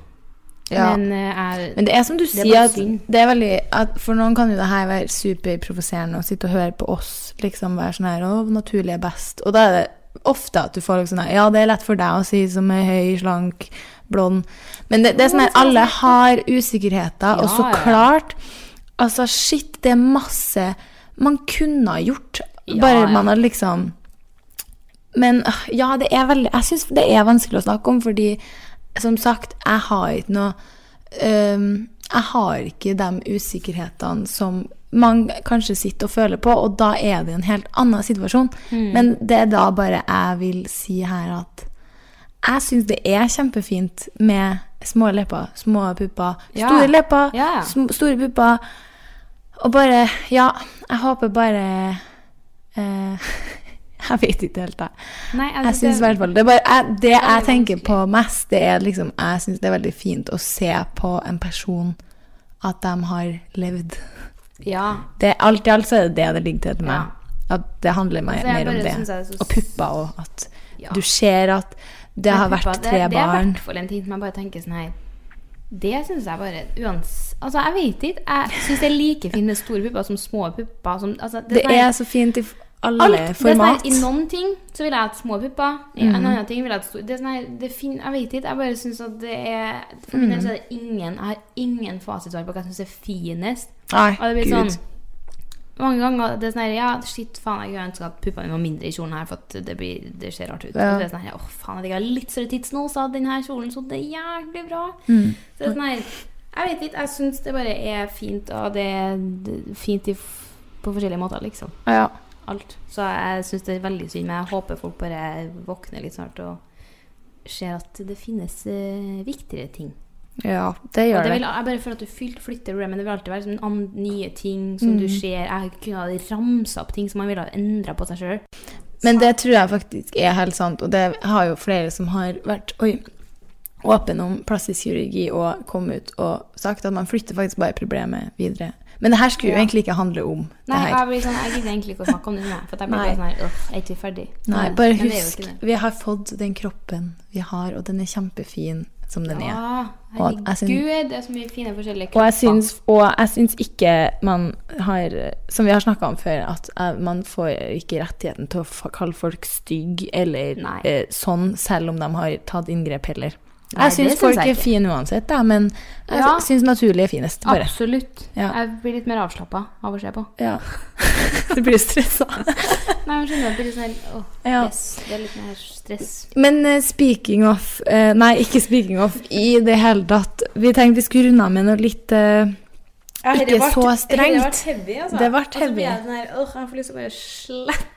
Speaker 4: Ja.
Speaker 3: Men eh, jeg
Speaker 4: Men det er som du
Speaker 3: er
Speaker 4: sier,
Speaker 3: bare
Speaker 4: at
Speaker 3: synd.
Speaker 4: det er veldig at For noen kan jo det her være superprovoserende å sitte og høre på oss liksom være sånn her Å, naturlig er best. Og da er det ofte at du får liksom sånn her Ja, det er lett for deg å si som er høy, slank, blond Men det, det er sånn her Alle har usikkerheter, og så
Speaker 3: Ja, ja.
Speaker 4: klart Altså, shit, det er masse man kunne ha gjort, bare
Speaker 3: Ja, ja.
Speaker 4: man har liksom men øh, ja, det er veldig Jeg syns det er vanskelig å snakke om, fordi som sagt, jeg har ikke noe øhm, Ehm, Jeg har ikke de usikkerhetene som man kanskje sitter og føler på, og da er det en helt annen situasjon.
Speaker 3: Mm.
Speaker 4: Men det er da bare jeg vil si her at jeg syns det er kjempefint med små lepper, små pupper,
Speaker 3: Ja.
Speaker 4: store lepper,
Speaker 3: Ja, ja.
Speaker 4: sm store pupper. Og bare Ja, jeg håper bare eh, Jeg vet ikke helt, jeg.
Speaker 3: Nei, jeg
Speaker 4: Jeg
Speaker 3: synes
Speaker 4: synes i
Speaker 3: det-
Speaker 4: hvert fall Det, er bare, jeg, det jeg
Speaker 3: veldig
Speaker 4: tenker på mest, det er liksom Jeg syns det er veldig fint å se på en person at de har levd.
Speaker 3: Ja.
Speaker 4: Det, alt i alt så er det det det ligger til til meg. At det handler meg
Speaker 3: Altså, jeg
Speaker 4: mer om
Speaker 3: bare
Speaker 4: det.
Speaker 3: synes jeg det er så
Speaker 4: Og pupper, og at
Speaker 3: Ja.
Speaker 4: du ser at det har
Speaker 3: Men
Speaker 4: vært
Speaker 3: puppa,
Speaker 4: tre
Speaker 3: det, Det er i
Speaker 4: barn.
Speaker 3: hvert fall en ting som jeg bare tenker sånn her Det syns jeg bare uans... Altså, jeg vet ikke. Jeg syns det er like fint med store pupper som små pupper. Som, altså,
Speaker 4: Det
Speaker 3: sånn her-
Speaker 4: er så fint i f- alle
Speaker 3: alt, det er sånn her,
Speaker 4: format. Mhm.
Speaker 3: I noen ting så vil jeg ha små pupper. I en annen ting vil jeg ha store Det er sånn her, det fin, Jeg vet ikke. Jeg bare syns at det er For min del så er det ingen Jeg har ingen fasitsvar på hva jeg syns er finest.
Speaker 4: Nei,
Speaker 3: Og det blir
Speaker 4: gud.
Speaker 3: sånn mange ganger det er sånn her, ja, shit, faen, jeg ønsker at puppene mine var mindre i kjolen her, for at det, blir, det ser rart ut. Og så er det sånn her, åh, faen, at jeg har litt større tits nå, så hadde denne kjolen så det er jævlig bra.
Speaker 4: Mm.
Speaker 3: Så det er sånn her, jeg vet ikke, jeg synes det bare er fint, og det er d- fint i, f- på forskjellige måter, liksom.
Speaker 4: Ja.
Speaker 3: Alt. Så jeg synes det er veldig synd, men jeg håper folk bare våkner litt snart og ser at det finnes eh, viktigere ting.
Speaker 4: ja, det
Speaker 3: Og
Speaker 4: gjør
Speaker 3: det
Speaker 4: det.
Speaker 3: vil, jeg bare føler at du fyl- flytter problemet. Det vil alltid være sånn an- nye ting som
Speaker 4: Mm.
Speaker 3: du ser. Jeg kunne ha ramsa opp ting som man ville ha endra på seg sjøl.
Speaker 4: Men det tror jeg faktisk er helt sant, og det har jo flere som har vært oi, åpen om plastisk kirurgi og kommet ut og sagt at man flytter faktisk bare problemet videre. Men det her skulle jo egentlig ikke handle om
Speaker 3: Nei,
Speaker 4: det her.
Speaker 3: jeg, blir sånn, jeg gidder egentlig ikke å snakke om det. Sånn, her, for at jeg blir
Speaker 4: Nei.
Speaker 3: bare sånn her, «Åh, er ikke vi ferdig?
Speaker 4: Nei,
Speaker 3: Men-
Speaker 4: bare
Speaker 3: men det er jo
Speaker 4: husk,
Speaker 3: ikke det.
Speaker 4: vi har fått den kroppen vi har, og den er kjempefin som den er.
Speaker 3: Ja,
Speaker 4: Og jeg syns-
Speaker 3: herregud, det er så mye fine forskjellige
Speaker 4: Og jeg syns, og jeg syns ikke man har Som vi har snakka om før, at eh, man får ikke rettigheten til å fa- kalle folk stygg eller
Speaker 3: Nei.
Speaker 4: eh, sånn, selv om de har tatt inngrep heller. Jeg
Speaker 3: det
Speaker 4: syns
Speaker 3: syns
Speaker 4: folk
Speaker 3: jeg
Speaker 4: er
Speaker 3: ikke.
Speaker 4: fine uansett, da, men jeg
Speaker 3: Ja.
Speaker 4: syns naturlig er finest. Bare.
Speaker 3: Absolutt.
Speaker 4: Ja.
Speaker 3: Jeg blir litt mer avslappa av å se på.
Speaker 4: Ja. du blir stressa.
Speaker 3: Nei, men skjønner, jeg blir litt sånn her, åh,
Speaker 4: Ja.
Speaker 3: yes, Det er litt mer stress.
Speaker 4: Men eh, speaking of eh, Nei, ikke speaking of i det hele tatt. Vi tenkte vi skulle runde av med noe litt eh, Ikke så
Speaker 3: Det ble
Speaker 4: strengt.
Speaker 3: heavy, altså.
Speaker 4: Det ble
Speaker 3: Og så blir jeg
Speaker 4: heavy.
Speaker 3: sånn her, åh, jeg får lyst til å bare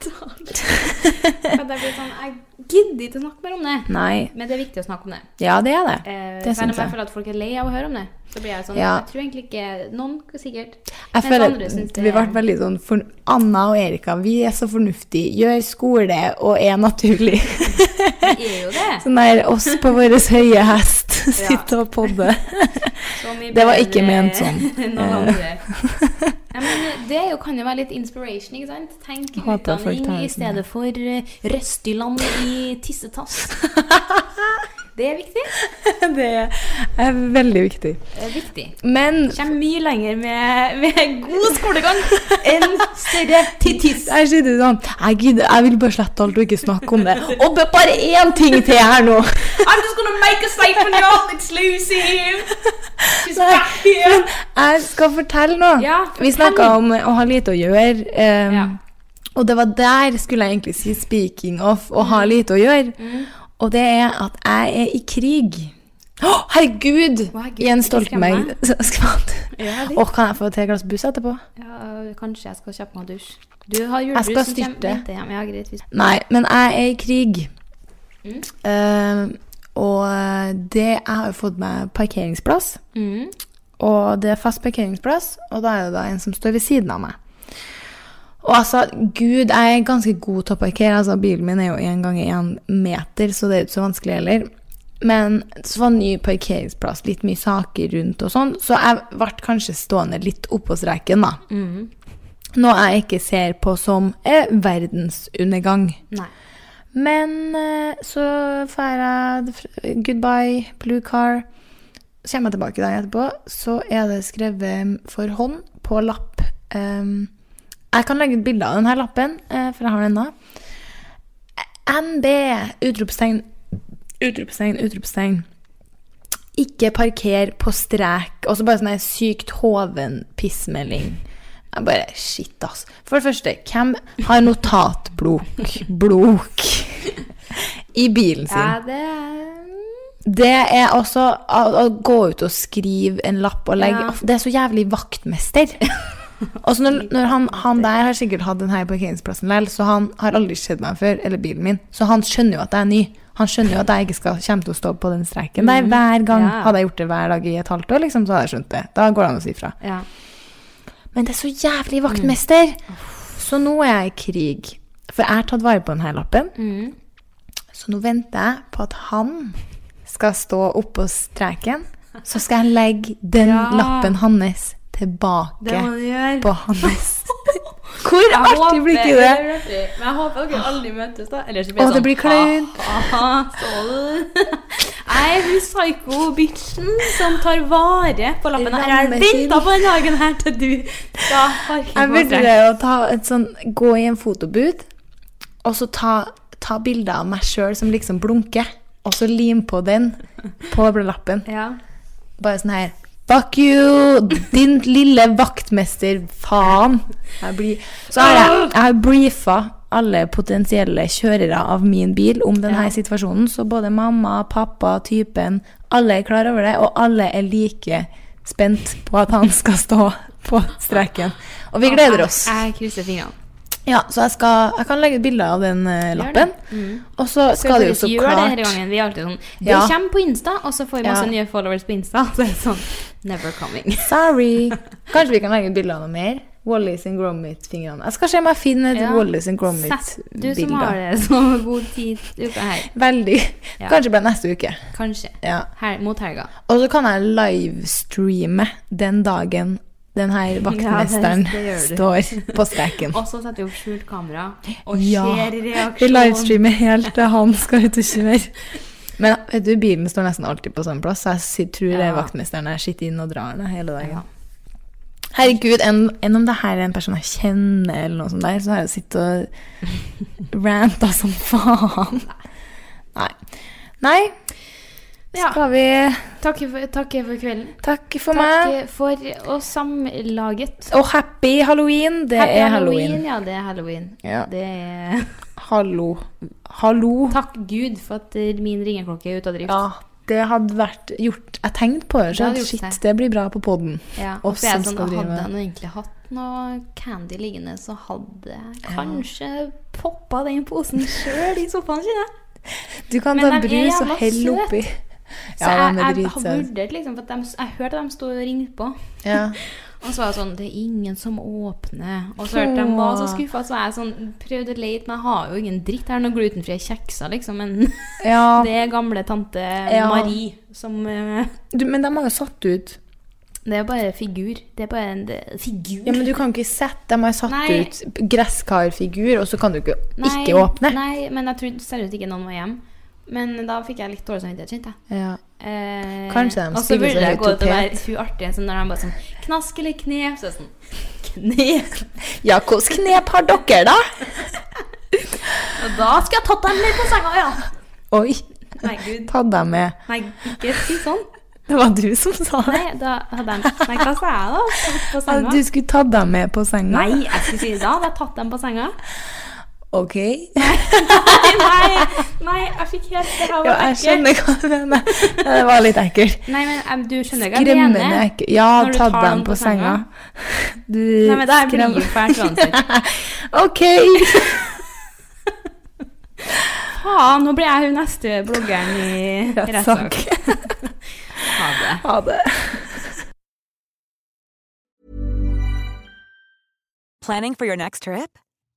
Speaker 3: slette alt. Men det blir sånn, jeg gidder ikke å snakke mer om det.
Speaker 4: Nei.
Speaker 3: Men det er viktig å snakke om det.
Speaker 4: Ja, det er det.
Speaker 3: Eh,
Speaker 4: Det
Speaker 3: for
Speaker 4: syns
Speaker 3: om jeg
Speaker 4: jeg.
Speaker 3: føler at folk er lei av å høre om det. Så blir jeg sånn,
Speaker 4: Ja.
Speaker 3: jeg tror egentlig ikke Noen sikkert.
Speaker 4: Jeg
Speaker 3: Mens
Speaker 4: føler
Speaker 3: andre syns
Speaker 4: at
Speaker 3: det-
Speaker 4: vi ble veldig sånn for Anna og Erika, vi er så fornuftige, gjør skole og er naturlig.
Speaker 3: Det er jo det.
Speaker 4: Sånn der oss på vår høye hest sitter og podder.
Speaker 3: Så mye
Speaker 4: Det var
Speaker 3: bedre
Speaker 4: ikke ment sånn.
Speaker 3: enn noen andre. Ja, men det er jo, kan jo være litt inspiration, ikke sant? Tenk
Speaker 4: Håper folk tar
Speaker 3: utdanning i
Speaker 4: det sånn, som
Speaker 3: stedet
Speaker 4: det.
Speaker 3: for eh, Røstiland i tissetass. Det er viktig.
Speaker 4: Det er veldig viktig.
Speaker 3: Det er Eh, viktig.
Speaker 4: Men
Speaker 3: Kommer mye lenger med, med god skolegang enn større tittis.
Speaker 4: jeg sitter sånn Jeg gidder, jeg vil bare slette alt og ikke snakke om det. Og b- bare én ting til her nå!
Speaker 3: I'm just gonna make a statement, y'all. It's Lucy here. She's back here.
Speaker 4: Jeg skal fortelle noe.
Speaker 3: Ja,
Speaker 4: Vi
Speaker 3: fortell.
Speaker 4: snakka om å ha lite å gjøre. eh,
Speaker 3: Ja.
Speaker 4: Og det var der skulle jeg egentlig si 'speaking of' å ha lite å gjøre.
Speaker 3: Mm.
Speaker 4: Og det er at jeg er i krig. Å, herregud!
Speaker 3: Å, herregud,
Speaker 4: Jens
Speaker 3: ikke skremme
Speaker 4: Stoltenberg skvatt.
Speaker 3: Ja, litt.
Speaker 4: Å, kan jeg få et til glass buss etterpå?
Speaker 3: Ja, kanskje jeg skal kjappe meg og dusje. Du har
Speaker 4: Jeg skal
Speaker 3: julebrus som
Speaker 4: styrte.
Speaker 3: kommer venter hjem. Ja, greit. Vi
Speaker 4: Nei, men jeg er i krig. Eh, og det Jeg har jo fått meg parkeringsplass. Og det er fast parkeringsplass, og da er det da en som står ved siden av meg. Og altså, gud, jeg er ganske god til å parkere. Altså, bilen min er jo én gang én meter, så det er jo ikke så vanskelig heller. Men så var det ny parkeringsplass, litt mye saker rundt og sånn, så jeg ble kanskje stående litt oppå streken, da. Noe jeg ikke ser på som eh, verdensundergang.
Speaker 3: Nei.
Speaker 4: Men eh, så feirer jeg fr- goodbye, blue car. Så kommer jeg tilbake dagen etterpå, så er det skrevet for hånd på lapp. Ehm, jeg kan legge ut bilde av denne lappen, eh, for jeg har den ennå. MB! Utropstegn, utropstegn, utropstegn. Ikke parker på strek. Og så bare sånn ei sykt hoven pissmelding. Jeg bare Shit, ass. For det første, hvem har notatblok blok i bilen sin?
Speaker 3: Ja, det er
Speaker 4: Det er også å, å gå ut og skrive en lapp og legge
Speaker 3: Ja.
Speaker 4: Det er så jævlig vaktmester. Og så når, når han, han der har sikkert hatt denne parkeringsplassen likevel, så han har aldri sett meg før, eller bilen min, så han skjønner jo at jeg er ny. Han skjønner jo at jeg ikke skal, kommer til å stå på den streiken der hver gang.
Speaker 3: Mm, Ja.
Speaker 4: Hadde jeg gjort det hver dag i et halvt år, liksom, så hadde jeg skjønt det. Da går det an å si fra.
Speaker 3: Ja. Mm.
Speaker 4: Men det er så jævlig vaktmester! Så nå er jeg i krig. For jeg har tatt vare på denne lappen. Så nå venter jeg på at han skal stå oppå streken. Så skal jeg legge den lappen hans tilbake
Speaker 3: du gjøre.
Speaker 4: på hans. Hvor artig blir sånn ikke det?
Speaker 3: Men jeg håper dere aldri møtes, da. Ellers så
Speaker 4: Å,
Speaker 3: blir
Speaker 4: det blir kleint.
Speaker 3: «Haha, så du? Jeg er hun psycho-bitchen som tar vare på lappen. Her. Jeg har
Speaker 4: Rammer til.
Speaker 3: venta på den dagen her til du skal parke
Speaker 4: Jeg
Speaker 3: på strek.
Speaker 4: vurderer å ta et sånn, gå i en fotobud, og så ta, ta bilder av meg sjøl som liksom blunker, og så lim på den på lappen.
Speaker 3: Ja.
Speaker 4: Bare sånn her Fuck you, din lille vaktmester, faen. Jeg blir, så har jeg, jeg har briefa alle potensielle kjørere av min bil om denne situasjonen, så både mamma, pappa, typen, alle er klar over det, og alle er like spent på at han skal stå på streken. Og vi gleder oss.
Speaker 3: Jeg krysser fingrene.
Speaker 4: Ja, så jeg, skal, jeg kan legge ut bilde av den eh, lappen, og så skal det jo så
Speaker 3: Gjør det denne
Speaker 4: klart
Speaker 3: gangen. Vi er alltid sånn Det
Speaker 4: Ja.
Speaker 3: kommer på Insta, og så får vi masse
Speaker 4: Ja.
Speaker 3: nye followers på Insta. Så er det sånn Never coming.
Speaker 4: Sorry. Kanskje vi kan legge ut bilder av noe mer? Wallis and Gromit-fingrene. Jeg skal se om jeg finner et
Speaker 3: Ja.
Speaker 4: Wallis and
Speaker 3: Sett, du som har
Speaker 4: Gromit-bilde.
Speaker 3: det så god tid uka her.
Speaker 4: Veldig.
Speaker 3: Ja.
Speaker 4: Kanskje det blir neste uke.
Speaker 3: Kanskje.
Speaker 4: Ja.
Speaker 3: Her, mot helga.
Speaker 4: Og så kan jeg livestreame den dagen den her vaktmesteren
Speaker 3: det gjør du.
Speaker 4: står på streken.
Speaker 3: Og så setter vi opp skjult kamera og
Speaker 4: Ja.
Speaker 3: ser
Speaker 4: Vi
Speaker 3: reaksjonen.
Speaker 4: livestreamer helt til han skal ut og kjøre. Men vet du, bilen står nesten alltid på samme plass, så jeg sy- tror det er
Speaker 3: Ja.
Speaker 4: vaktmesteren der sitter inn og drar den hele dagen.
Speaker 3: Ja.
Speaker 4: Herregud, enn enn om det her er en person jeg kjenner, eller noe sånt der, så har jeg jo sittet sånn. og ranta som faen. Nei. Nei.
Speaker 3: Ja.
Speaker 2: Skal vi
Speaker 3: Takk for, takk for kvelden.
Speaker 2: Takke for meg.
Speaker 3: Takk for oss samlaget.
Speaker 2: Og happy halloween. Det
Speaker 3: Happy
Speaker 2: er halloween.
Speaker 3: Ja, det er halloween.
Speaker 2: Ja.
Speaker 3: Det er...
Speaker 2: Hallo. Hallo.
Speaker 3: Takk Gud for at eh, min ringeklokke er ute av drift.
Speaker 2: Ja,
Speaker 4: Det hadde vært gjort Jeg tenkte på det.
Speaker 3: Det hadde
Speaker 4: skjønt.
Speaker 3: gjort
Speaker 4: Shit,
Speaker 3: seg.
Speaker 4: det blir bra på poden.
Speaker 3: Ja,
Speaker 4: Oss
Speaker 3: og så er
Speaker 4: som
Speaker 3: det sånn,
Speaker 4: skal drive
Speaker 3: Hadde
Speaker 4: med-
Speaker 3: han egentlig hatt noe candy liggende, så hadde jeg kanskje poppa den posen sjøl i sofaen sin. jeg.
Speaker 4: Du kan
Speaker 3: Men
Speaker 4: ta
Speaker 3: de er
Speaker 4: brus og
Speaker 3: jævla
Speaker 4: helle
Speaker 3: søt.
Speaker 4: oppi.
Speaker 3: Så
Speaker 4: Ja,
Speaker 3: jeg,
Speaker 4: de er
Speaker 3: jeg har
Speaker 4: dritsøte.
Speaker 3: vurdert liksom, for at de, jeg hørte at de sto og ringte på.
Speaker 4: Ja.
Speaker 3: Og så var jeg sånn Det er ingen som åpner. Og så hørte jeg de var så skuffa, så jeg sånn, prøvde å lete, men jeg har jo ingen dritt. Jeg har noen glutenfrie kjekser, liksom. Men
Speaker 4: ja.
Speaker 3: det er gamle tante
Speaker 4: Ja.
Speaker 3: Marie som eh,
Speaker 4: Du, men de har jo satt ut.
Speaker 3: Det er bare figur. Det er bare en det, er figur.
Speaker 4: Ja, men du kan ikke sette De har satt
Speaker 3: Nei.
Speaker 4: ut gresskarfigur, og så kan du ikke,
Speaker 3: Nei,
Speaker 4: ikke åpne.
Speaker 3: Nei, men jeg trodde seriøst ikke noen var hjemme. Men da fikk jeg litt dårlig samvittighet, kjente jeg.
Speaker 4: Ja.
Speaker 3: Eh,
Speaker 4: Kanskje de
Speaker 3: og så
Speaker 4: stiller
Speaker 3: burde
Speaker 4: seg
Speaker 3: jeg
Speaker 4: helt
Speaker 3: gå til å
Speaker 4: opphet.
Speaker 3: være hun artige, sånn når de bare sånn Knask eller knep? Så er jeg sånn Knep!
Speaker 4: ja, hvilket knep har dere, da?
Speaker 3: Og da skal jeg tatt dem litt på senga, ja!
Speaker 4: Oi,
Speaker 3: Nei, gud.
Speaker 4: ta deg med.
Speaker 3: Nei, ikke si sånn.
Speaker 4: Det var du som sa det.
Speaker 3: Nei, da hadde jeg Nei, hva sa jeg da? Tatt På
Speaker 4: At
Speaker 3: senga?
Speaker 4: du skulle ta deg med på senga?
Speaker 3: Nei, jeg skulle si da hadde jeg tatt dem på senga.
Speaker 4: Ok.
Speaker 3: Nei, nei, nei jeg fikk helt Det her
Speaker 4: Ja,
Speaker 3: var
Speaker 4: jeg
Speaker 3: ekkelt.
Speaker 4: skjønner hva du mener. Det var litt ekkelt.
Speaker 3: Nei, men em, du skjønner hva jeg
Speaker 4: Skremmende
Speaker 3: mener?
Speaker 4: ekkelt. Ja,
Speaker 3: Når du
Speaker 4: ta
Speaker 3: tar
Speaker 4: dem
Speaker 3: den
Speaker 4: på
Speaker 3: på
Speaker 4: senga.
Speaker 3: senga.
Speaker 4: Du
Speaker 3: Nei, men det her blir jo fælt uansett.
Speaker 4: Ok.
Speaker 3: Faen, nå blir jeg hun neste bloggeren i rettssak.
Speaker 4: Rettssak.
Speaker 3: Ha det.
Speaker 4: Ha det.
Speaker 5: Planning for your next trip?